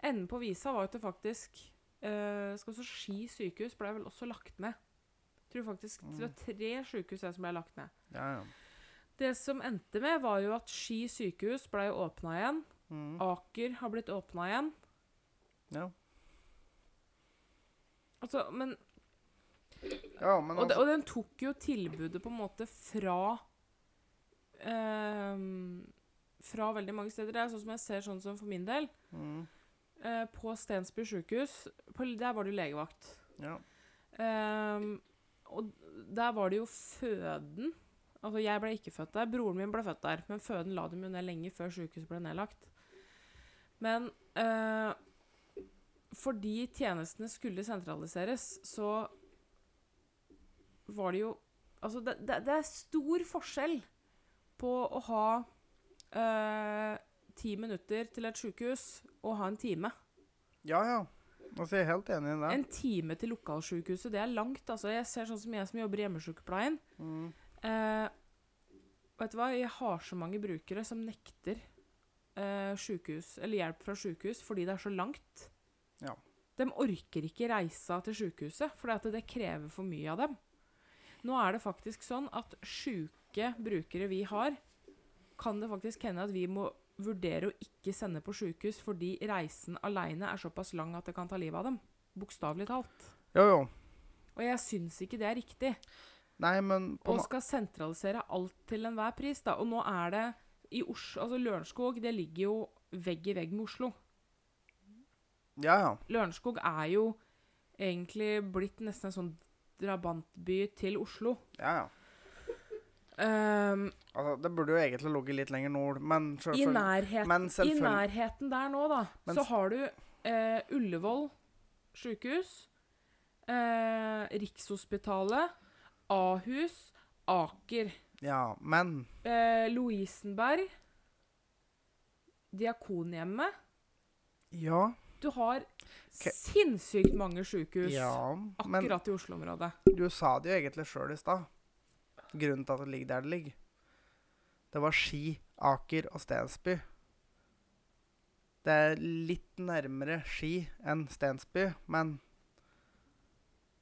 Enden på visa var at det faktisk eh, skal også Ski sykehus blei vel også lagt ned. Jeg tror faktisk det Mm. var tre sykehus her som blei lagt ned. ja, ja. Det som endte med, var jo at Ski sykehus blei åpna igjen. Mm. Aker har blitt åpna igjen. Ja. Altså, men, Ja, men og, de, altså, og den tok jo tilbudet på en måte fra eh, Fra veldig mange steder. Det er sånn som jeg ser sånn som for min del. mm, Eh, på Stensby sjukehus Der var det jo legevakt. ja. Ehm, og der var det jo føden Altså, jeg ble ikke født der. Broren min ble født der. Men føden la dem jo ned lenge før sjukehuset ble nedlagt. Men eh, fordi tjenestene skulle sentraliseres, så var det jo Altså, det, det, det er stor forskjell på å ha eh, ti minutter til et sjukehus og ha en time. ja, ja. Altså, jeg er helt enig i det. En time til lokalsykehuset, det er langt. Altså. Jeg ser sånn som jeg som jobber i hjemmesykepleien. Mm. Eh, vet du hva, jeg har så mange brukere som nekter eh, sykehus, eller hjelp fra sykehus fordi det er så langt. Ja. De orker ikke reisa til sykehuset, fordi at det krever for mye av dem. Nå er det faktisk sånn at syke brukere vi har, kan det faktisk hende at vi må vurdere å ikke sende på sykehus fordi reisen aleine er såpass lang at det kan ta livet av dem. Bokstavelig talt. Jo, jo. Og jeg syns ikke det er riktig. Nei, men på Og ma- skal sentralisere alt til enhver pris, da. Og nå er det i Oslo Altså Lørenskog, det ligger jo vegg i vegg med Oslo. Ja, ja. Lørenskog er jo egentlig blitt nesten en sånn drabantby til Oslo. ja, ja. Ehm, Altså, det burde jo egentlig ligget litt lenger nord, men I selvfølgelig nærheten, men I selvfølgelig- nærheten der nå, da, Men så s- har du eh, Ullevål sjukehus, eh, Rikshospitalet, Ahus, Aker, Ja, men eh, Lovisenberg, Diakonhjemmet. Ja. Du har Ke- sinnssykt mange sjukehus Ja. Men akkurat i Oslo-området. du sa det jo egentlig sjøl i stad. Grunnen til at det ligger der det ligger. Det var Ski, Aker og Stensby. Det er litt nærmere Ski enn Stensby, men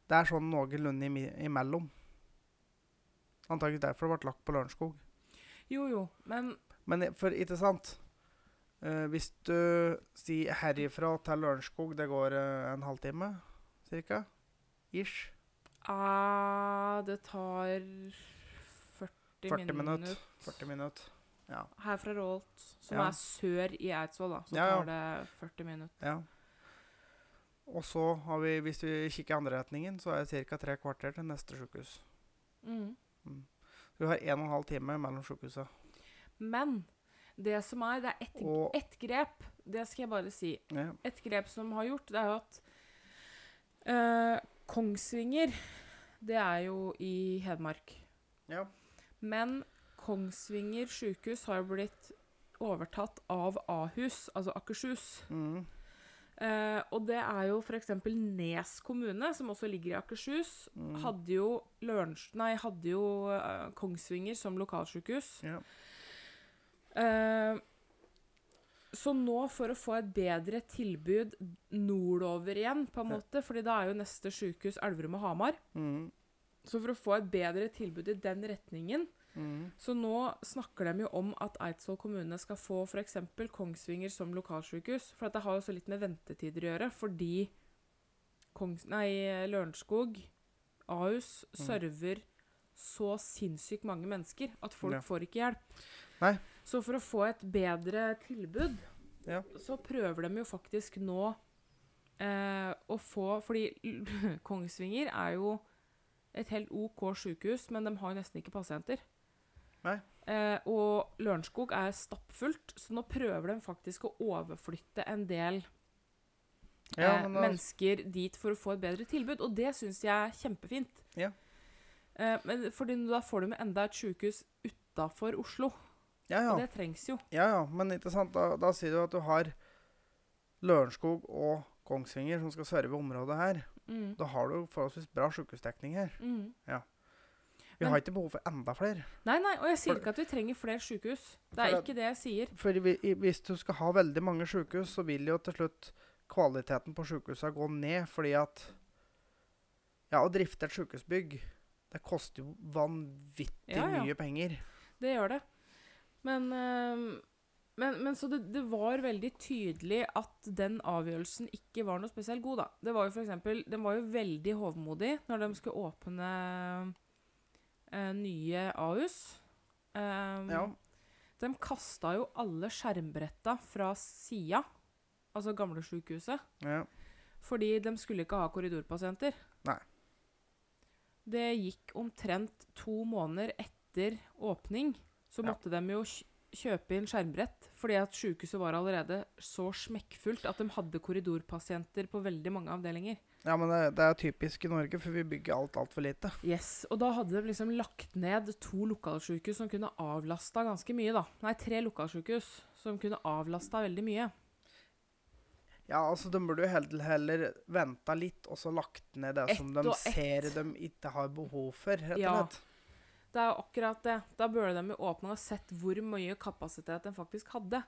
det er sånn noenlunde imi- imellom. Antakelig derfor det ble lagt på Lørenskog. Jo, jo, men Men i- for ikke sant Eh, Hvis du sier herifra til Lørenskog, det går eh, en halvtime cirka? Ish. eh, det tar 40, 40 minutt. minutter 40 minutter. Ja. her fra Rålt, som Ja. er sør i Eidsvoll, da. Så Ja, ja. tar det 40 minutter. ja. Og så har vi, hvis vi kikker i andre retningen, så er det ca. tre kvarter til neste sykehus. Mm. Du har en og en halv time mellom sykehuset. Men det som er, det er ett Og- ett grep. Det skal jeg bare si. Ja. Et grep som har gjort, det er jo at eh, Kongsvinger, det er jo i Hedmark. ja. Men Kongsvinger sykehus har jo blitt overtatt av Ahus, altså Akershus. Mm. Eh, og det er jo f.eks. Nes kommune, som også ligger i Akershus, Mm. hadde jo, Lørens- nei, hadde jo eh, Kongsvinger som lokalsykehus. Ja. Eh, så nå, for å få et bedre tilbud nordover igjen, på en Ja. måte, fordi da er jo neste sykehus Elverum og Hamar Mm. Så for å få et bedre tilbud i den retningen, Mm. så nå snakker de jo om at Eidsvoll kommune skal få f.eks. Kongsvinger som lokalsykehus. For at det har jo så litt med ventetider å gjøre, fordi Kongs nei, Lørenskog, Ahus, Mm. server så sinnssykt mange mennesker at folk Ja. får ikke hjelp. Nei. Så for å få et bedre tilbud, Ja. så prøver de jo faktisk nå eh, å få Fordi Kongsvinger er jo et helt OK sykehus, men de har jo nesten ikke pasienter. Nei. Eh, og Lørenskog er stappfullt, så nå prøver de faktisk å overflytte en del ja, eh, men da, mennesker dit for å få et bedre tilbud, og det syns jeg er kjempefint. Ja. Eh, men fordi da får de enda et sykehus utafor Oslo, ja, ja. og det trengs jo. Ja, ja, men ikke sant, da, da sier du at du har Lørenskog og Kongsvinger som skal serve området her. Mm, Da har du forholdsvis bra sykehusdekning her. mm. Vi Men- har ikke behov for enda flere. Nei, nei, og jeg sier For- ikke at vi trenger flere sykehus. Det er For at- ikke det jeg sier. For vi, i- hvis du skal ha veldig mange sykehus, så vil jo til slutt kvaliteten på sykehusene gå ned, fordi at Ja, å drifte et sykehusbygg, det koster jo vanvittig Ja, ja. mye penger. Det gjør det. Men, eh, men, men så det, det var veldig tydelig at den avgjørelsen ikke var noe spesielt god, da. Det var jo for eksempel, den var jo veldig hovmodig når de skulle åpne eh, nye Ahus. Um, Ja. De kasta jo alle skjermbretta fra sida, altså gamlesykehuset, ja. fordi de skulle ikke ha korridorpasienter. Nei. Det gikk omtrent to måneder etter åpning, så Ja. måtte de jo kj- kjøpe inn skjermbrett, fordi at sykehuset var allerede så smekkfullt at de hadde korridorpasienter på veldig mange avdelinger. ja, men det, det er typisk i Norge, for vi bygger alt altfor lite. Yes, og da hadde de liksom lagt ned to lokalsykehus som kunne avlasta ganske mye, da. Nei, tre lokalsykehus som kunne avlasta veldig mye. Ja, altså de burde jo heller, heller venta litt, og så lagt ned det Ett som de og ett. ser de ikke har behov for, rett og Ja. slett. Det er jo akkurat det. Da burde de jo åpne og sett hvor mye kapasitet de faktisk hadde.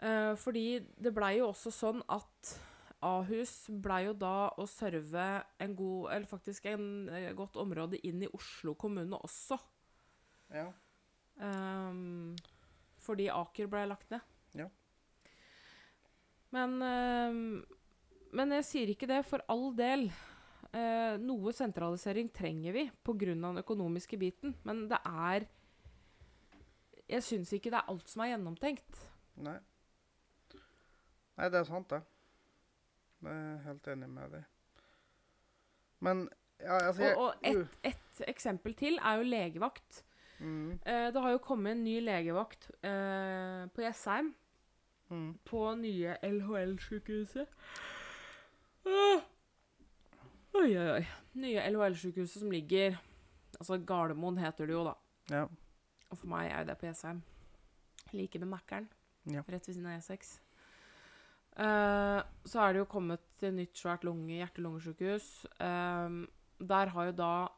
Eh, fordi det blei jo også sånn at Ahus blei jo da å serve en god, eller faktisk en eh, godt område inn i Oslo kommune også. Ja. Ehm, fordi Aker ble lagt ned. Ja. Men, ehm, men jeg sier ikke det, for all del. Eh, noe sentralisering trenger vi pga. den økonomiske biten, men det er Jeg syns ikke det er alt som er gjennomtenkt. Nei. Nei, det er sant, det. Det er jeg helt enig med deg. Men ja, altså jeg, Og, og et, et eksempel til er jo legevakt. mm, Eh, det har jo kommet en ny legevakt eh, på Jessheim. mm, på nye LHL-sykehuset. Ah. Oi, oi, oi. Nye LHL-sykehuset som ligger Altså, Gardermoen heter det jo, da. ja. Og for meg er det på E Jessheim. Like ved Mækkern. Ja. Rett ved siden av E6. Eh, så er det jo kommet et nytt svært lunge, hjerte-lungesykehus. Eh, der har jo da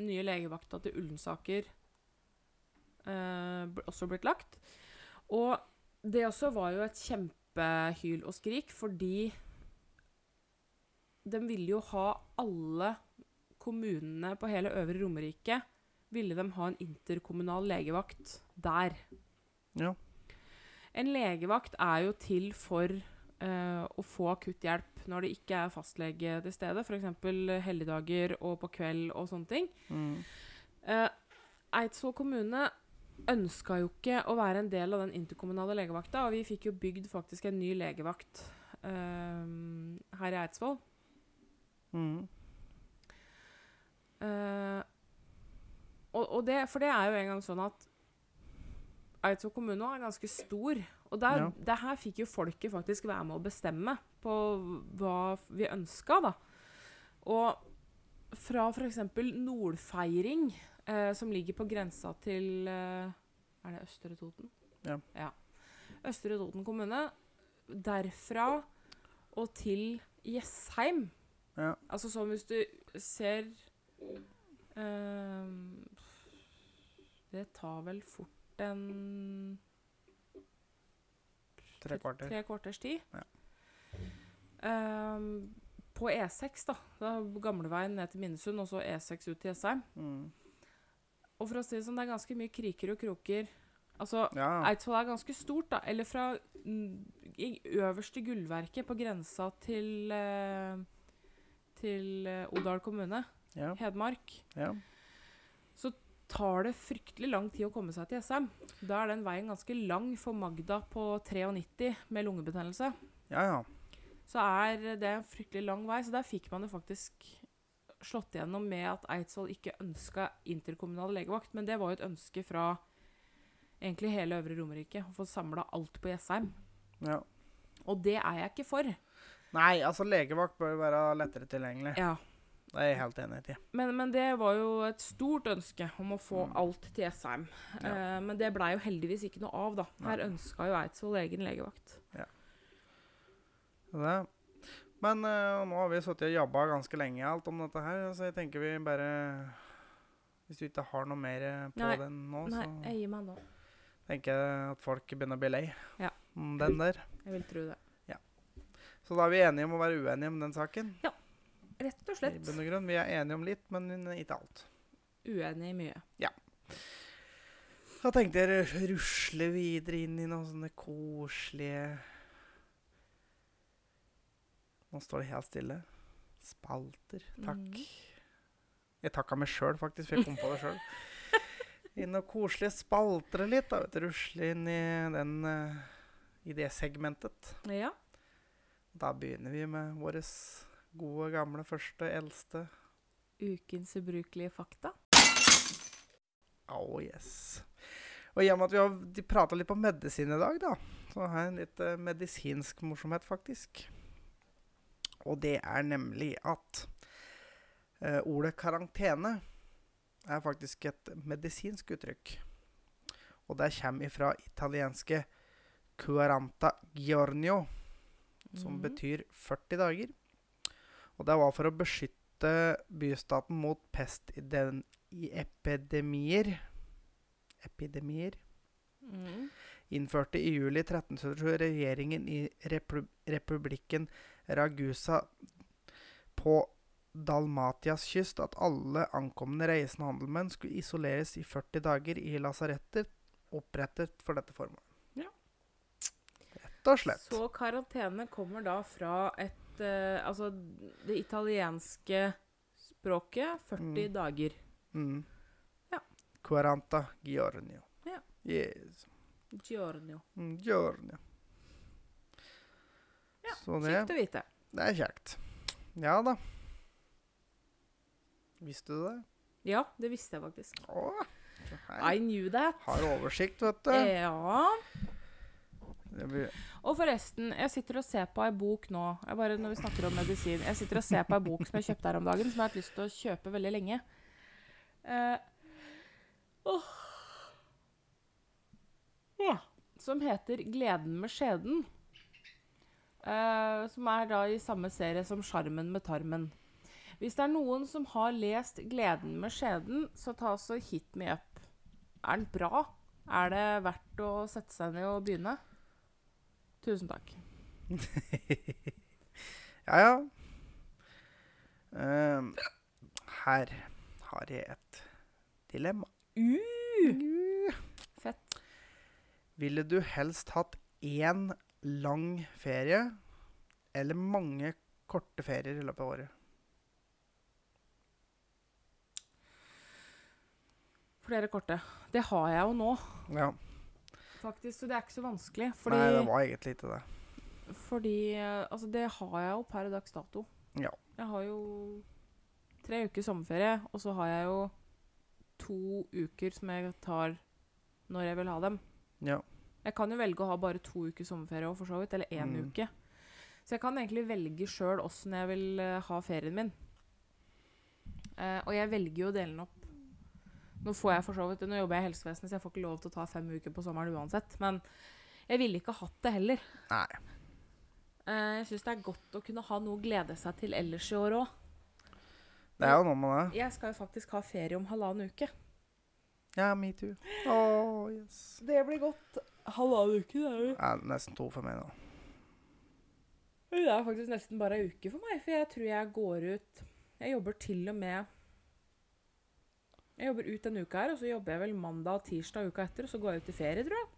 nye legevakta til Ullensaker eh, bl- også blitt lagt. Og det også var jo et kjempehyl og skrik, fordi de ville jo ha alle kommunene på hele Øvre Romerike ville de ha en interkommunal legevakt der. Ja. En legevakt er jo til for eh, å få akutt hjelp når det ikke er fastlege til stede, f.eks. helligdager og på kveld og sånne ting. Mm. Eh, Eidsvoll kommune ønska jo ikke å være en del av den interkommunale legevakta, og vi fikk jo bygd faktisk en ny legevakt eh, her i Eidsvoll. Mm. Eh, og, og det, for det er jo en gang sånn at Eidsvoll kommune er ganske stor. Og der, Ja. det her fikk jo folket faktisk være med å bestemme på hva f- vi ønska, da. Og fra f.eks. Nordfeiring, eh, som ligger på grensa til eh, Er det Østre Toten? Ja. Østre Toten kommune. Derfra og til Jessheim. Ja. Altså sånn hvis du ser Ehm, Det tar vel fort en Tre kvarter. tre kvarters tid. Ja. Ehm, på E6, da. da er Gamleveien ned til Minnesund, og så E6 ut til Jessheim. Mm. Og for å si det sånn, det er ganske mye kriker og kroker. Altså, Ja. Eidsvoll er ganske stort, da. Eller fra mm, i øverste gullverket på grensa til eh, til eh, Odal kommune, Ja. Hedmark. ja. tar det fryktelig lang tid å komme seg til SM. Da er den veien ganske lang for Magda på 93 med lungebetennelse. Ja, ja. Så er det en fryktelig lang vei, så der fikk man det faktisk slått igjennom med at Eidsvoll ikke ønska interkommunal legevakt, men det var jo et ønske fra egentlig hele Øvre Romerike, å få samla alt på Jessheim. ja. Og det er jeg ikke for. Nei, altså legevakt bør være lettere tilgjengelig. Ja. Det er jeg helt enig i. Men, men det var jo et stort ønske om å få Mm. alt til Jessheim. Eh, men det blei jo heldigvis ikke noe av, da. Her Nei. ønska jo Eidsvoll egen legevakt. Det. Men eh, nå har vi sittet og jobba ganske lenge alt om dette her, så jeg tenker vi bare Hvis du ikke har noe mer eh, på Nei. den nå, Nei, så jeg gir meg nå. tenker jeg at folk begynner å bli lei Ja. om den der. Jeg vil tro det. Så da er vi enige om å være uenige om den saken. Rett og I slett bunn og grunn. Vi er enige om litt, men ikke alt. uenig i mye. Da tenkte jeg å rusle videre inn i noen sånne koselige Nå står det helt stille. Spalter. Takk. Mhm. Jeg takka meg sjøl, faktisk, for jeg kom på det sjøl. Inn og koselige spalter litt. da, vet du. Rusle inn i den eh, i det segmentet. Ja. Da begynner vi med vår gode, gamle, første, eldste. Ukens ubrukelige fakta. Oh, yes. Og i og med at vi har prata litt om medisin i dag, da, så har jeg en litt eh, medisinsk morsomhet, faktisk. Og det er nemlig at eh, ordet karantene er faktisk et medisinsk uttrykk. Og det kommer ifra italienske 'cuaranta giornio', som Mhm. betyr 40 dager. Og det var for å beskytte bystaten mot pest i, den, i epidemier. Epidemier. Mhm. Innførte i juli 1377 regjeringen i repru, republikken Ragusa på Dalmatias kyst at alle ankomne reisende handelmenn skulle isoleres i 40 dager i lasaretter opprettet for dette formålet. Ja. Rett og slett. Så karantene kommer da fra et eh, Altså det italienske språket 40 Mm. dager. Mm. Ja. Quaranta giornio. Ja. Yes. Giorno. Mm, Giornio. Ja, Så det, Kjekt å vite. det er kjekt. Ja da. Visste du det? Ja, det visste jeg faktisk. Å, I knew that. har oversikt, vet du. Eh. Ja. Det blir, Og forresten, jeg sitter og ser på ei bok nå. Jeg bare når vi snakker om medisin. Jeg sitter og ser på ei bok som jeg kjøpte her om dagen, som jeg har hatt lyst til å kjøpe veldig lenge. Eh, åh. Ja. Som heter 'Gleden med skjeden'. Eh, som er da i samme serie som 'Sjarmen med tarmen'. Hvis det er noen som har lest 'Gleden med skjeden', så ta så hit me up. Er den bra? Er det verdt å sette seg ned og begynne? Tusen takk. Ja, ja. Ehm, her har jeg et dilemma. Uh! Fett. Ville du helst hatt én lang ferie eller mange korte ferier i løpet av året? Flere korte. Det har jeg jo nå, Ja. faktisk. Så det er ikke så vanskelig. Fordi, Nei, det var egentlig ikke det. fordi eh, Altså, det har jeg jo per dags dato. Ja. Jeg har jo tre uker sommerferie, og så har jeg jo to uker som jeg tar når jeg vil ha dem. Ja. Jeg kan jo velge å ha bare to uker sommerferie også, for så vidt, eller én Mm. uke. Så jeg kan egentlig velge sjøl åssen jeg vil eh, ha ferien min. Eh, og jeg velger jo å dele den opp. Nå får jeg for så vidt, nå jobber jeg i helsevesenet, så jeg får ikke lov til å ta fem uker på sommeren uansett. Men jeg ville ikke hatt det heller. Nei. Eh, jeg syns det er godt å kunne ha noe å glede seg til ellers i år òg. Det er jo noe med det. Jeg skal jo faktisk ha ferie om halvannen uke. Ja, me too. Åh, yes. Det blir godt. Halvannen uke, det er jo Det er nesten to for meg nå. Det er faktisk nesten bare ei uke for meg, for jeg tror jeg går ut Jeg jobber til og med Jeg jobber ut denne uka her, og så jobber jeg vel mandag og tirsdag uka etter, og så går jeg ut i ferie, tror jeg.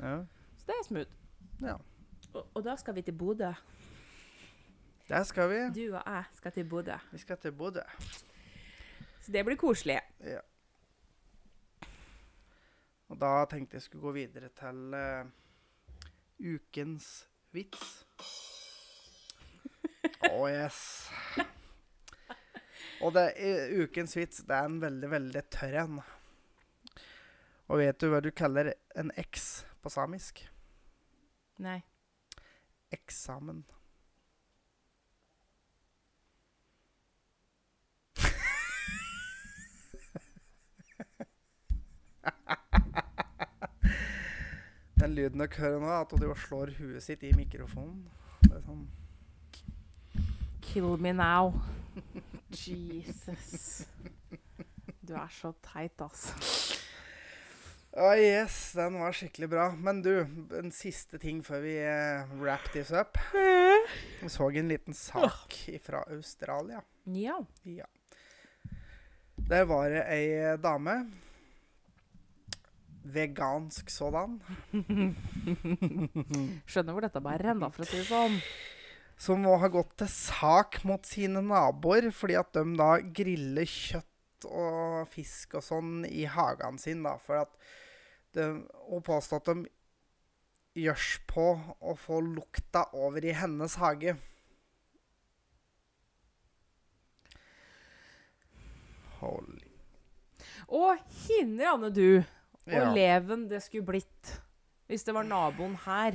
Ja. Så det er smooth. ja. Og, og da skal vi til Bodø. Der skal vi. Du og jeg skal til Bodø. Vi skal til Bodø. Så det blir koselig. Ja. Og da tenkte jeg skulle gå videre til eh, ukens vits. Å, yes. Og det, i- ukens vits, det er en veldig, veldig tørr en. Og vet du hva du kaller en X på samisk? Nei. Eksamen. Den lyden dere hører nå, er at hun slår huet sitt i mikrofonen. Det er sånn. Kill me now. Jesus. Du er så teit, altså. Å, yes, den var skikkelig bra. Men du, en siste ting før vi eh, wrap this up. Vi så en liten sak fra Australia. Ja. Ja. Der var det ei dame. Vegansk sådan. Skjønner hvor dette bare renner, for å si det sånn. Som må ha gått til sak mot sine naboer fordi at de da griller kjøtt og fisk og sånn i hagen sin. da, For at de, Hun påstår at de gjørs på å få lukta over i hennes hage. Holy Og hinner, Anne, du. Og Ja. leven det skulle blitt hvis det var naboen her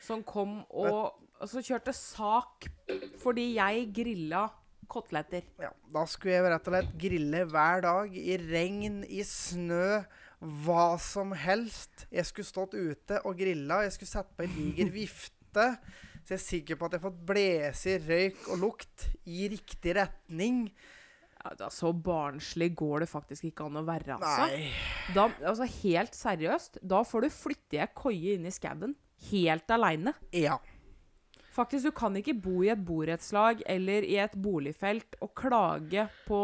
som kom og altså, kjørte sak fordi jeg grilla koteletter. Ja, da skulle jeg rett og slett grille hver dag, i regn, i snø, hva som helst. Jeg skulle stått ute og grilla, jeg skulle satt på en diger vifte. Så jeg er sikker på at jeg har fått blåse i røyk og lukt i riktig retning. Ja, da, så barnslig går det faktisk ikke an å være, altså. Nei. Da, altså helt seriøst, da får du flytte ei koie inn i skauen. Helt aleine. Ja. Faktisk, du kan ikke bo i et borettslag eller i et boligfelt og klage på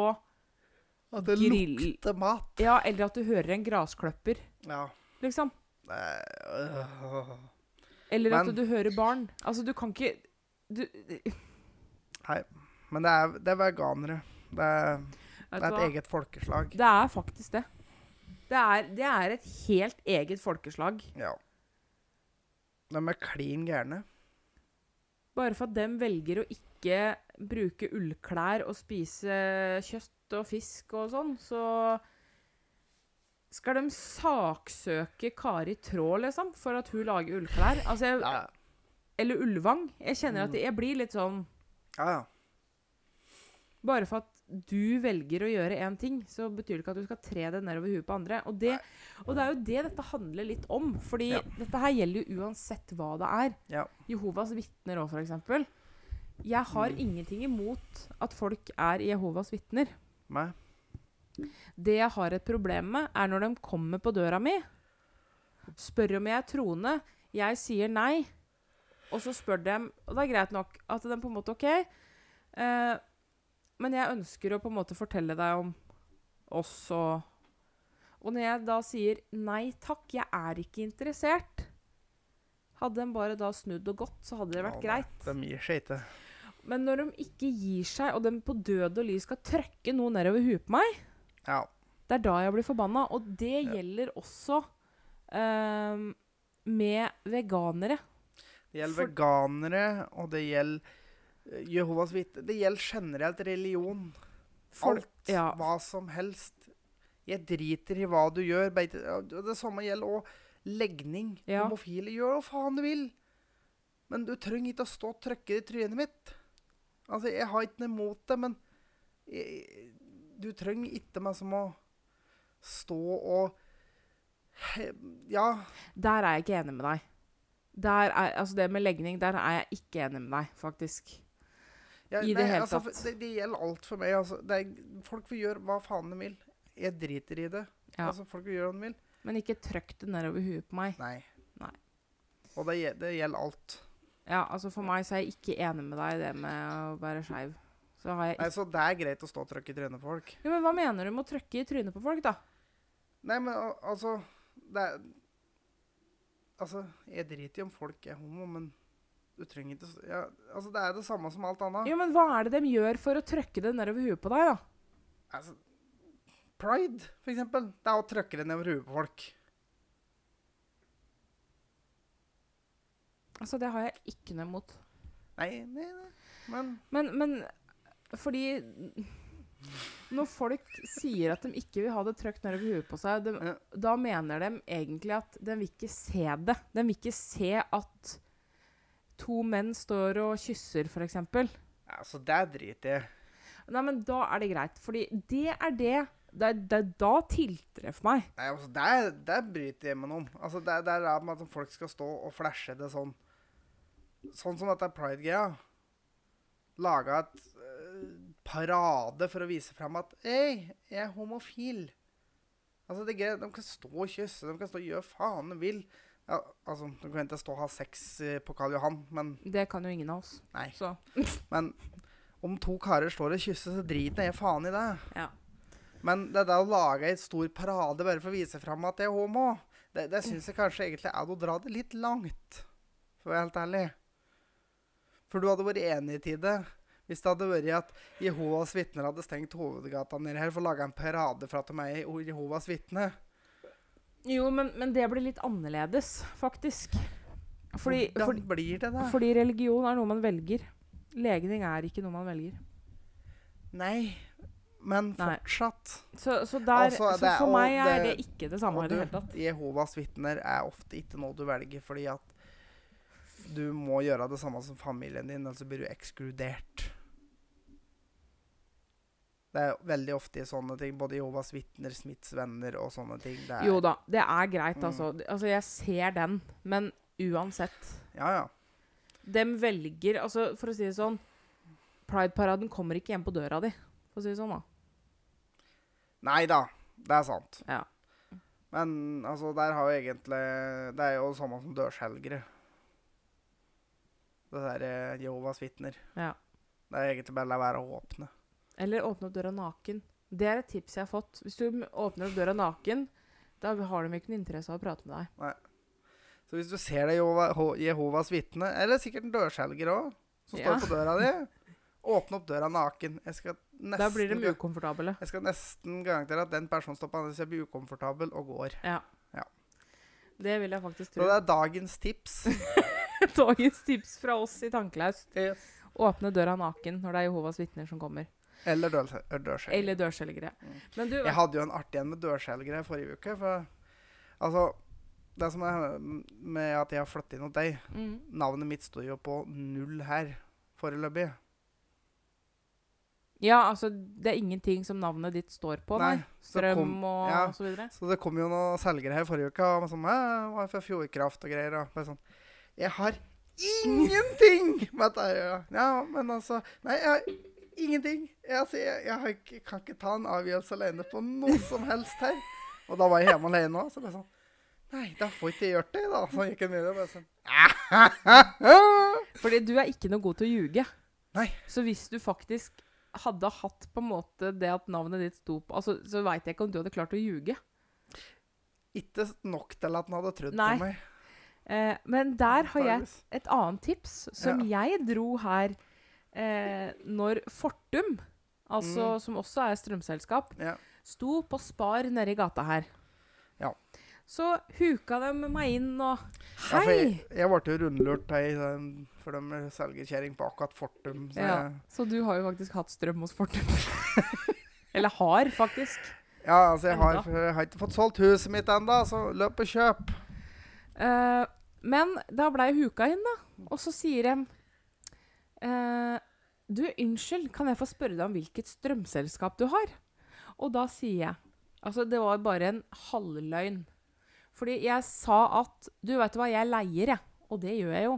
At det Grill. lukter mat. Ja, eller at du hører en graskløpper, Ja. liksom. Eh, øh. Eller at Men- du hører barn. Altså, du kan ikke du, Nei. Men det er, det er veganere. Det er, Vet det er et du hva? eget folkeslag. Det er faktisk det. Det er, det er et helt eget folkeslag. Ja. De er klin gærne. Bare for at dem velger å ikke bruke ullklær og spise kjøtt og fisk og sånn, så skal de saksøke Kari Traa, liksom, for at hun lager ullklær? Altså, jeg, Ja, Mm. eller Ulvang. Jeg kjenner at jeg blir litt sånn ja. Bare for at du velger å gjøre én ting, så betyr det ikke at du skal tre det nedover huet på andre. Og det, og det er jo det dette handler litt om. Fordi Ja. dette her gjelder jo uansett hva det er. Ja. Jehovas vitner òg, f.eks. Mm. Jeg har ingenting imot at folk er Jehovas vitner. Meg. Det jeg har et problem med, er når de kommer på døra mi, spør om jeg er troende, jeg sier nei, og så spør de Og det er greit nok at de på en måte OK, eh, men jeg ønsker å på en måte fortelle deg om oss og Og når jeg da sier nei takk, jeg er ikke interessert Hadde de bare da snudd og gått, så hadde det vært greit. De gir seg ikke. Men når de ikke gir seg, og de på død og liv skal trøkke noe nedover huet på meg Ja. det er da jeg blir forbanna. Og det gjelder også ehm, med veganere. Det gjelder For- veganere, og det gjelder eh, Jehovas vitner. Det gjelder generelt religion. Folk- Alt. ja. Hva som helst. Jeg driter i hva du gjør. Beite, og det samme gjelder òg legning. Ja. Homofile gjør hva faen du vil. Men du trenger ikke å stå og trykke det i trynet mitt. Altså, jeg har ikke noe imot det, men jeg, du trenger ikke meg som å stå og he, Ja. Der er jeg ikke enig med deg. Der er, altså det med legning, der er jeg ikke enig med deg, faktisk. Ja, I det hele altså, tatt. for- Det, det gjelder alt for meg. Altså. Det er, folk vil gjøre hva faen de vil. Jeg driter i det. Ja. Altså, folk vil gjøre hva de vil. Men ikke trøkk det nedover huet på meg. Nei. Nei. Og det, gjel- det gjelder alt. Ja, altså For meg så er jeg ikke enig med deg i det med å være skeiv. Så har jeg Nei, ikke så det er greit å stå og trykke i trynet på folk. Jo, Men hva mener du med å trøkke i trynet på folk, da? Nei, men al- altså Det er Altså, jeg driter i om folk er homo, men du trenger ikke s- ja, Altså, det er det samme som alt annet. Jo, men Hva er det de gjør for å trøkke det nedover huet på deg, da? Altså, Pride, for eksempel. Det er å trykke det nedover huet på folk. Altså, Det har jeg ikke noe imot. Nei, nei, nei. Men Men, men fordi Når folk sier at de ikke vil ha det trøkt nedover huet på seg, de, Ja. da mener de egentlig at de vil ikke se det. De vil ikke se at to menn står og kysser, f.eks. Nei, altså, det driter jeg i. men da er det greit. Fordi det er det Det er, det er da tiltreffer meg. Nei, altså, der, der bryter jeg meg noen. Altså, der, der er det med at folk skal stå og flashe det sånn. Sånn som dette Pride-greia. Laga et øh, parade for å vise frem at Hei, jeg er homofil. Altså, det er greit. De kan stå og kysse, de kan stå og gjøre faen de vil. Ja, altså, De kan ikke stå og ha sex eh, på Karl Johan, men Det kan jo ingen av oss. Nei. Så, Men om to karer står og kysser, så driter jeg faen i det. ja. Men det der å lage en stor parade bare for å vise fram at jeg er homo, det, det syns jeg kanskje egentlig er å dra det litt langt. For å være helt ærlig. For du hadde vært enig i det hvis det hadde vært at Jehovas vitner hadde stengt hovedgata nede her for å lage en parade for at de er i Jehovas vitne. Jo, men, men det blir litt annerledes, faktisk. Fordi, Hvordan fordi blir det, da? Fordi religion er noe man velger. Legning er ikke noe man velger. Nei. Men Nei. fortsatt. Så, så, der, Altså, så det er- for og meg er det- det ikke det samme Og i du, det hele tatt. Jehovas vitner er ofte ikke noe du velger, fordi at du må gjøre det samme som familien din, ellers så blir du ekskludert. Det er veldig ofte i sånne ting. Både Jehovas vitner, Smiths venner og sånne ting. Det er, Jo da, det er greit, Mm. altså. Det- Altså, jeg ser den. Men uansett. Ja, ja. Dem velger Altså, for å si det sånn Pride-paraden kommer ikke hjem på døra di, for å si det sånn, da. Nei da, det er sant. Ja. Men altså, der har jo egentlig Det er jo det samme som dørselgere. Det derre Jehovas vitner. Ja. Det er egentlig bare å la være å åpne. Eller åpne opp døra naken. Det er et tips jeg har fått. Hvis du m- åpner opp døra naken, da har de ikke noen interesse av å prate med deg. Så hvis du ser det Jehova, Ho- Jehovas vitne, eller sikkert en dørselger òg, som står Ja. på døra di, åpne opp døra naken. Jeg skal nesten, Da blir de ga- ukomfortable. jeg skal nesten garantere at den personen står på andre siden blir ukomfortabel og går. Det vil jeg faktisk Så tro. det er dagens tips. Dagens tips fra oss i Tankelaus. Åpne døra naken når det er Jehovas vitner som kommer. Eller dørse- eller dørselger. Eller dørselgere. Mm. Men du, Jeg hadde jo en artig en med dørselgere forrige uke. For altså Det som er med at jeg har flyttet inn hos deg mm, Navnet mitt står jo på null her foreløpig. ja, altså, det er ingenting som navnet ditt står på. Nei. Nei, så Strøm kom- og ja. så videre. Så det kom jo noen selgere her forrige uke og var sånn Hæ, hva er for Fjordkraft og greier? Og bare sånn Jeg har ingenting med dette å gjøre. Ja, men altså Nei, jeg, Ingenting. Jeg, altså, jeg, jeg har ikke, kan ikke ta en avgjørelse alene på noe som helst her. Og da var jeg hjemme alene òg, så bare sånn Nei, da får ikke jeg gjort det, da. Så gikk jeg ned og bare sånn Fordi du er ikke noe god til å ljuge. Nei. Så hvis du faktisk hadde hatt på en måte det at navnet ditt sto på altså, Så veit jeg ikke om du hadde klart å ljuge. Ikke nok til at han hadde trodd Nei, på meg. Eh, men der har jeg antageligvis. et annet tips som jeg dro her eh, når Fortum, altså, som også er strømselskap, Mm. Ja. sto på Spar nede i gata her. Ja. Så huka de meg inn og Ja, for jeg, Hei! jeg ble jo rundlurt her, i den- for de selger kjerring på akkurat Fortum. Så Ja, jeg, så du har jo faktisk hatt strøm hos Fortum. Eller har, faktisk. ja, altså jeg har, Enda. for jeg har ikke fått solgt huset mitt ennå, så løp og kjøp. Eh, men da blei jeg huka inn, da. Og så sier de eh, Du, unnskyld, kan jeg få spørre deg om hvilket strømselskap du har? Og da sier jeg Altså, det var bare en halvløgn. Fordi jeg sa at Du, veit du hva, jeg leier, jeg. Og det gjør jeg jo.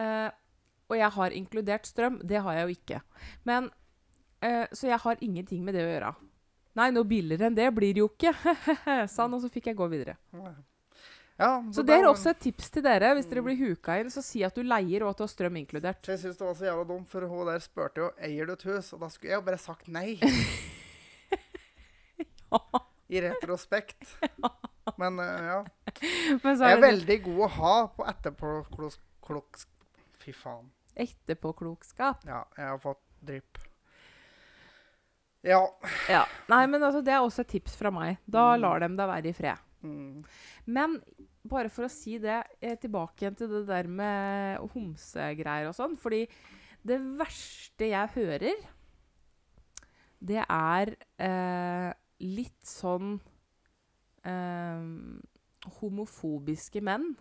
Eh, og jeg har inkludert strøm. Det har jeg jo ikke. Men eh, Så jeg har ingenting med det å gjøre. Nei, noe billigere enn det blir det jo ikke, sa han, og så fikk jeg gå videre. Ja, Så det er var- også et tips til dere. Hvis dere blir huka inn, så si at du leier og at du har strøm inkludert. Så jeg synes det var så jævla dumt, for hun der spurte jo eier du et hus, og da skulle jeg jo bare sagt nei. I retrospekt. Men eh, ja. Men så Jeg er er det veldig god å ha på etterpåklok... Fy faen. etterpåklokskap. Ja, jeg har fått drypp. Ja. Ja. Mm. Nei, men altså, det er også et tips fra meg. Da lar dem deg være i fred. Mm. Men bare for å si det, eh, tilbake igjen til det der med homsegreier og sånn. Fordi det verste jeg hører, det er eh, litt sånn eh, homofobiske menn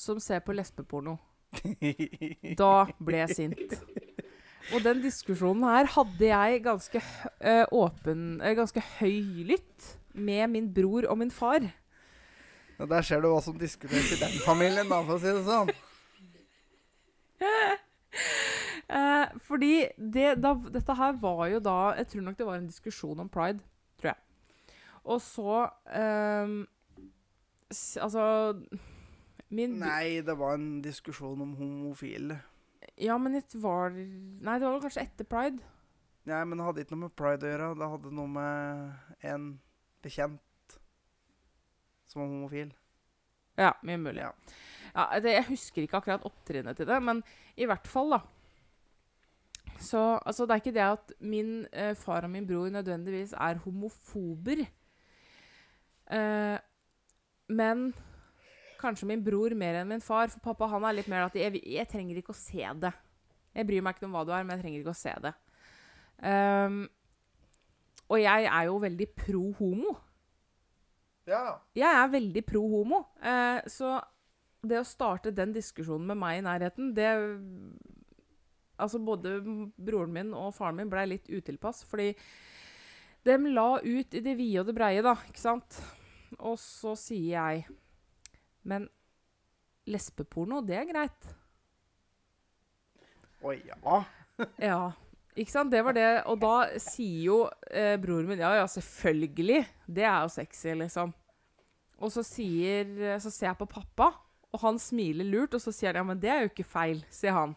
som ser på lesbeporno. Da ble jeg sint. Og den diskusjonen her hadde jeg ganske hø- eh, åpen, eh, ganske høylytt med min bror og min far. Ja, Der ser du hva som diskuteres i den familien, da, for å si det sånn. Eh, fordi det, da, dette her var jo da Jeg tror nok det var en diskusjon om pride, tror jeg. Og så ehm, s- Altså Min br- Nei, det var en diskusjon om homofile. Ja, men det var Nei, det var vel kanskje etter pride. Nei, men det hadde ikke noe med pride å gjøre. Det hadde noe med en bekjent som var homofil. Ja, mye mulig. Ja. Ja. det, jeg husker ikke akkurat opptrinnet til det, men i hvert fall, da. Så altså, det er ikke det at min eh, far og min bror nødvendigvis er homofober. Eh, men kanskje min bror mer enn min far, for pappa han er litt mer at jeg, vil- jeg trenger ikke å se det. Jeg bryr meg ikke om hva du er, men jeg trenger ikke å se det. Ehm, og jeg er jo veldig pro homo. Ja. Jeg er veldig pro homo, eh, så det å starte den diskusjonen med meg i nærheten, det Altså, både broren min og faren min blei litt utilpass, fordi dem la ut i det vide og det breie, da, ikke sant? Og så sier jeg Men lesbeporno, det er greit. Å ja. Ja. Ikke sant? Det var det. Og da sier jo eh, broren min Ja, ja, selvfølgelig. Det er jo sexy, liksom. Og så sier eh, Så ser jeg på pappa, og han smiler lurt, og så sier han ja, men det er jo ikke feil, sier han.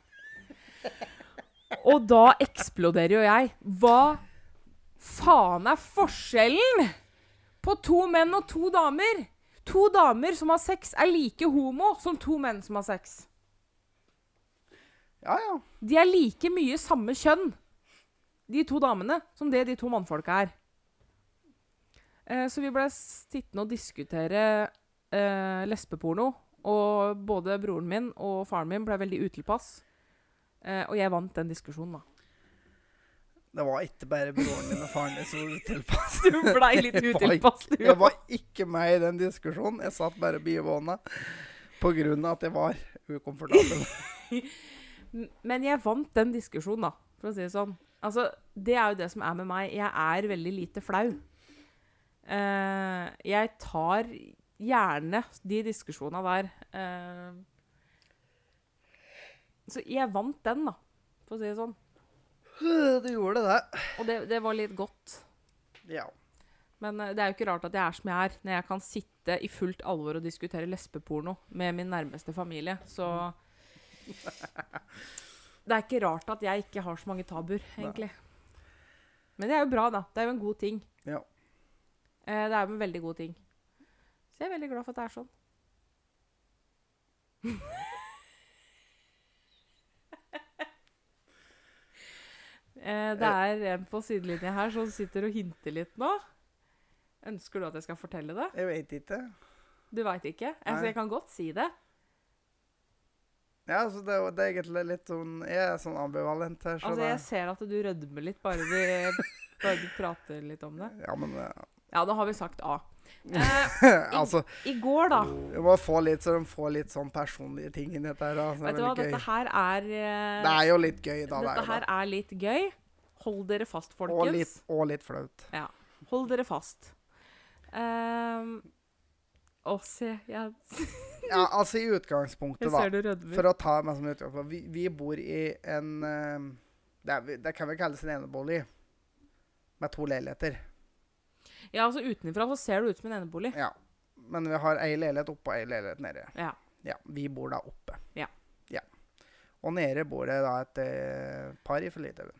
Og da eksploderer jo jeg. Hva faen er forskjellen på to menn og to damer? To damer som har sex, er like homo som to menn som har sex. Ja, ja. De er like mye samme kjønn, de to damene, som det de to mannfolka er. Eh, så vi ble sittende og diskutere eh, lesbeporno. Og både broren min og faren min ble veldig utilpass. Eh, og jeg vant den diskusjonen, da. Det var ikke bare broren min og faren min som var utilpass. Du blei litt Jeg var utilpass, du. Jeg var ikke med i den diskusjonen. Jeg satt bare bivåna på grunn av at jeg var ukomfortabel. M- Men jeg vant den diskusjonen, da, for å si det sånn. Altså, det er jo det som er med meg. Jeg er veldig lite flau. Eh, jeg tar gjerne de diskusjonene der. eh. så jeg vant den, da, for å si det sånn. Det gjorde det. Og det, det var litt godt. Ja. Men eh, det er jo ikke rart at jeg er som jeg er, når jeg kan sitte i fullt alvor og diskutere lesbeporno med min nærmeste familie. Så Det er ikke rart at jeg ikke har så mange tabuer, egentlig. Men det er jo bra, da. Det er jo en god ting. Ja. Eh, Det er jo en veldig god ting. Så jeg er veldig glad for at det er sånn. Eh, Det er en på sidelinja her som sitter og hinter litt nå. Ønsker du at jeg skal fortelle det? Jeg vet ikke. Du veit ikke? Altså, Nei. jeg kan godt si det. Ja, altså det, er jo- det er egentlig litt sånn Jeg er sånn ambivalent her, så Altså, jeg det ser at du rødmer litt bare vi, bare vi prater litt om det. Ja, men eh, Ja, da har vi sagt A. Eh, altså I går, da Jeg må få litt så de får litt sånn personlige ting inn i dette her. da, så Det Vet du er hva, veldig dette gøy. her er eh, Det er jo litt gøy, da. Dette Det er her jo det. er litt gøy. Hold dere fast, Og litt, folkens. og litt flaut. Ja. Hold dere fast. Ehm, Å, se. Jeg, Ja, altså i utgangspunktet, jeg da. ser du rødmer. For å ta meg som utgangspunkt. Vi, vi bor i en eh, det, er, vi- det kan vi kalle sin enebolig. Med to leiligheter. Ja, altså Utenfra så ser det ut som en enebolig. Ja. Men vi har ei leilighet oppe og ei leilighet nede. Ja. Ja, Vi bor da oppe. Ja. Ja. Og nede bor det da et eh, par fra Litauen.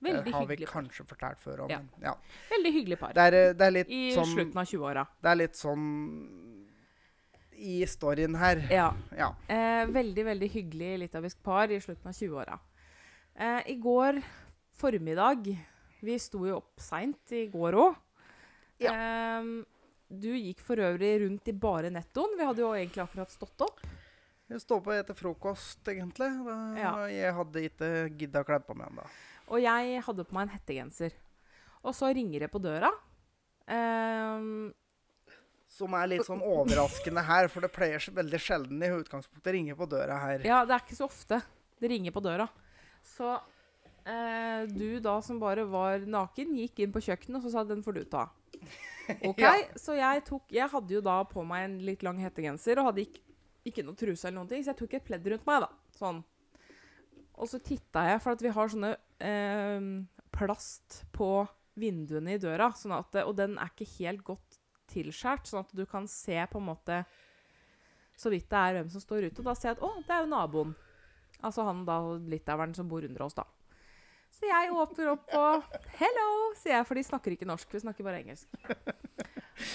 Det Veldig har vi hyggelig, par. kanskje fortalt før om. Ja. Ja. Men, ja. Veldig hyggelig par. Det, er, eh, det er litt I sånn slutten av 20-åra. Det er litt sånn i storyen her. Ja. Ja. Eh, veldig, veldig hyggelig litauisk par i slutten av 20-åra. Eh, I går formiddag Vi sto jo opp seint i går òg. Eh, du gikk for øvrig rundt i bare nettoen. Vi hadde jo egentlig akkurat stått opp. Jeg står på etter frokost, egentlig. Da- Ja. Jeg hadde ikke gidda å kle på meg ennå. Og jeg hadde på meg en hettegenser. Og så ringer det på døra. Ehm, Som er litt sånn overraskende her, for det pleier så veldig sjelden i utgangspunktet å ringe på døra her. ja, det er ikke så ofte det ringer på døra. Så eh, du da som bare var naken, gikk inn på kjøkkenet og så sa den får du ta. Ok, Ja. Så jeg tok Jeg hadde jo da på meg en litt lang hettegenser og hadde ikke, ikke noe truse eller noen ting, så jeg tok et pledd rundt meg, da. Sånn. Og så titta jeg, for at vi har sånne ehm, plast på vinduene i døra, sånn at, det- og den er ikke helt godt tilskjært, sånn at du kan se på en måte så vidt det er hvem som står ute. Og da ser jeg at å, det er jo naboen. Altså han da litaueren som bor under oss, da. Så jeg åpner opp og 'hello', sier jeg, for de snakker ikke norsk. Vi snakker bare engelsk.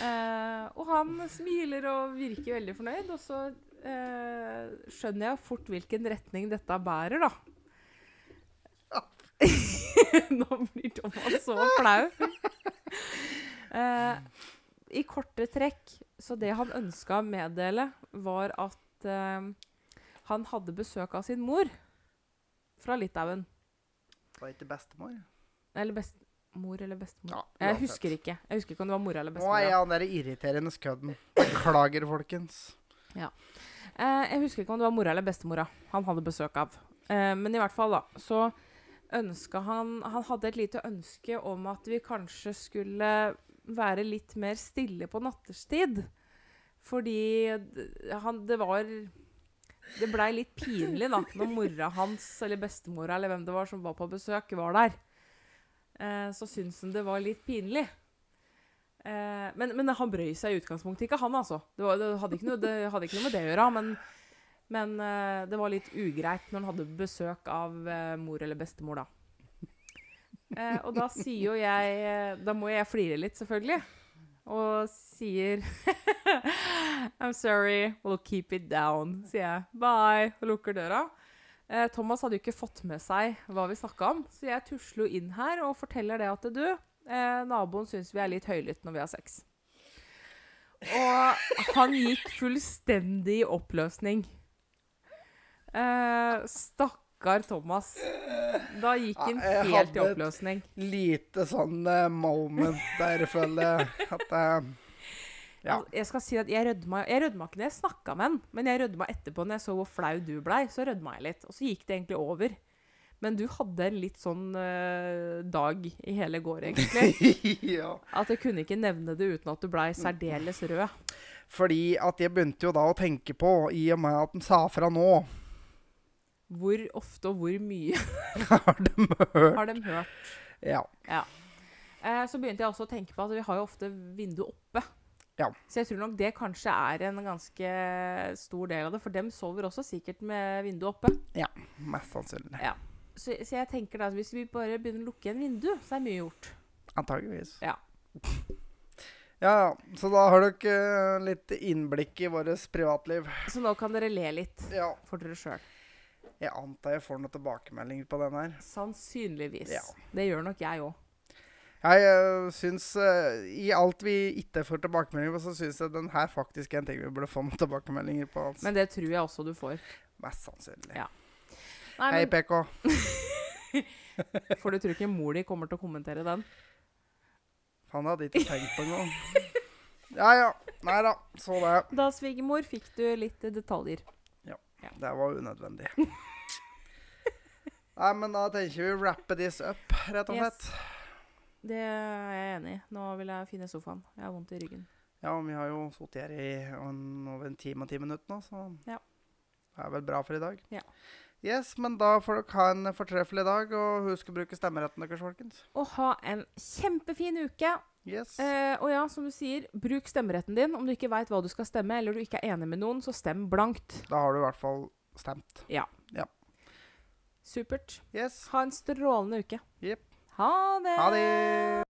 Eh, og han smiler og virker veldig fornøyd, og så eh, skjønner jeg fort hvilken retning dette bærer, da. Nå blir Thomas så flau. Eh, I korte trekk, så det han ønska å meddele, var at eh, han hadde besøk av sin mor fra Litauen. Var ikke bestemor? Eller best, mor eller bestemor? Ja, jeg uansett. husker ikke. Jeg husker ikke om det var mora eller Nå bestemor. er ja. jeg han derre irriterende kødden. Beklager, folkens. Eh, jeg husker ikke om det var mora eller bestemora han hadde besøk av. Eh, men i hvert fall, da, så ønska han Han hadde et lite ønske om at vi kanskje skulle være litt mer stille på nattestid. Fordi d- han Det var Det blei litt pinlig, da, når mora hans eller bestemora eller hvem det var som var på besøk, var der. Eh, så syntes han det var litt pinlig. Eh, men, men han brøy seg i utgangspunktet ikke, han altså. Det, var, det, hadde, ikke noe, det hadde ikke noe med det å gjøre. Men, men eh, det var litt ugreit når han hadde besøk av eh, mor eller bestemor, da. Eh, og da sier jo jeg eh, Da må jeg flire litt, selvfølgelig. Og sier I'm sorry, we'll keep it down, sier jeg. Bye. Og lukker døra. Eh, Thomas hadde jo ikke fått med seg hva vi snakka om, så jeg tusler jo inn her og forteller det at du, eh, naboen syns vi er litt høylytte når vi har sex. Og han gikk fullstendig i oppløsning. Eh, stakkar Thomas. Da gikk han Ja, jeg helt i hadde et- oppløsning. Lite sånn eh, moment der, føler jeg. At eh, Ja. Altså, Jeg skal si at jeg rødma, jeg rødma ikke når jeg snakka med han, men jeg rødma etterpå når jeg så hvor flau du blei. Så rødma jeg litt. Og så gikk det egentlig over. Men du hadde en litt sånn øh, dag i hele går, egentlig. ja. At jeg kunne ikke nevne det uten at du blei særdeles rød. Fordi at jeg begynte jo da å tenke på, i og med at han sa fra nå Hvor ofte og hvor mye Har de hørt? har de hørt? Ja. Eh, så begynte jeg også å tenke på at vi har jo ofte vinduet oppe. Ja. Så jeg tror nok det kanskje er en ganske stor del av det, for dem sover også sikkert med vinduet oppe. Mest sannsynlig. Så, så jeg tenker da at hvis vi bare begynner å lukke igjen vinduet, så er mye gjort. Antageligvis. Ja. Ja, ja. Så da har dere eh, litt innblikk i vårt privatliv. Så nå kan dere le litt Ja, for dere sjøl. jeg antar jeg får noen tilbakemeldinger på den her. Sannsynligvis. Ja. Det gjør nok jeg òg. Jeg uh, syns eh, I alt vi ikke får tilbakemeldinger på, så syns jeg den her faktisk er en ting vi burde få noen tilbakemeldinger på. Altså. Men det tror jeg også du får. Mest sannsynlig. Ja. Nei, Hei, men PK. For du tror ikke mor di kommer til å kommentere den? Faen, jeg hadde ikke tenkt på noe. Ja ja. Nei da. Så det. Da, svigermor, fikk du litt eh, detaljer. Det var unødvendig. Nei, men da tenker vi wrappe this up, rett og Yes. slett. Det er jeg enig i. Nå vil jeg finne sofaen. Jeg har vondt i ryggen. Ja, men vi har jo sittet her i en, over en time og ti minutter nå, så Ja. det er vel bra for i dag. Ja. Yes, men da får dere ha en fortreffelig dag, og husk å bruke stemmeretten deres, folkens. Og ha en kjempefin uke. Yes. Eh, og ja, som du sier, bruk stemmeretten din. Om du ikke veit hva du skal stemme, eller du ikke er enig med noen, så stem blankt. Da har du i hvert fall stemt. Supert. Yes. Ha en strålende uke. Jepp. Ha det! Ha det!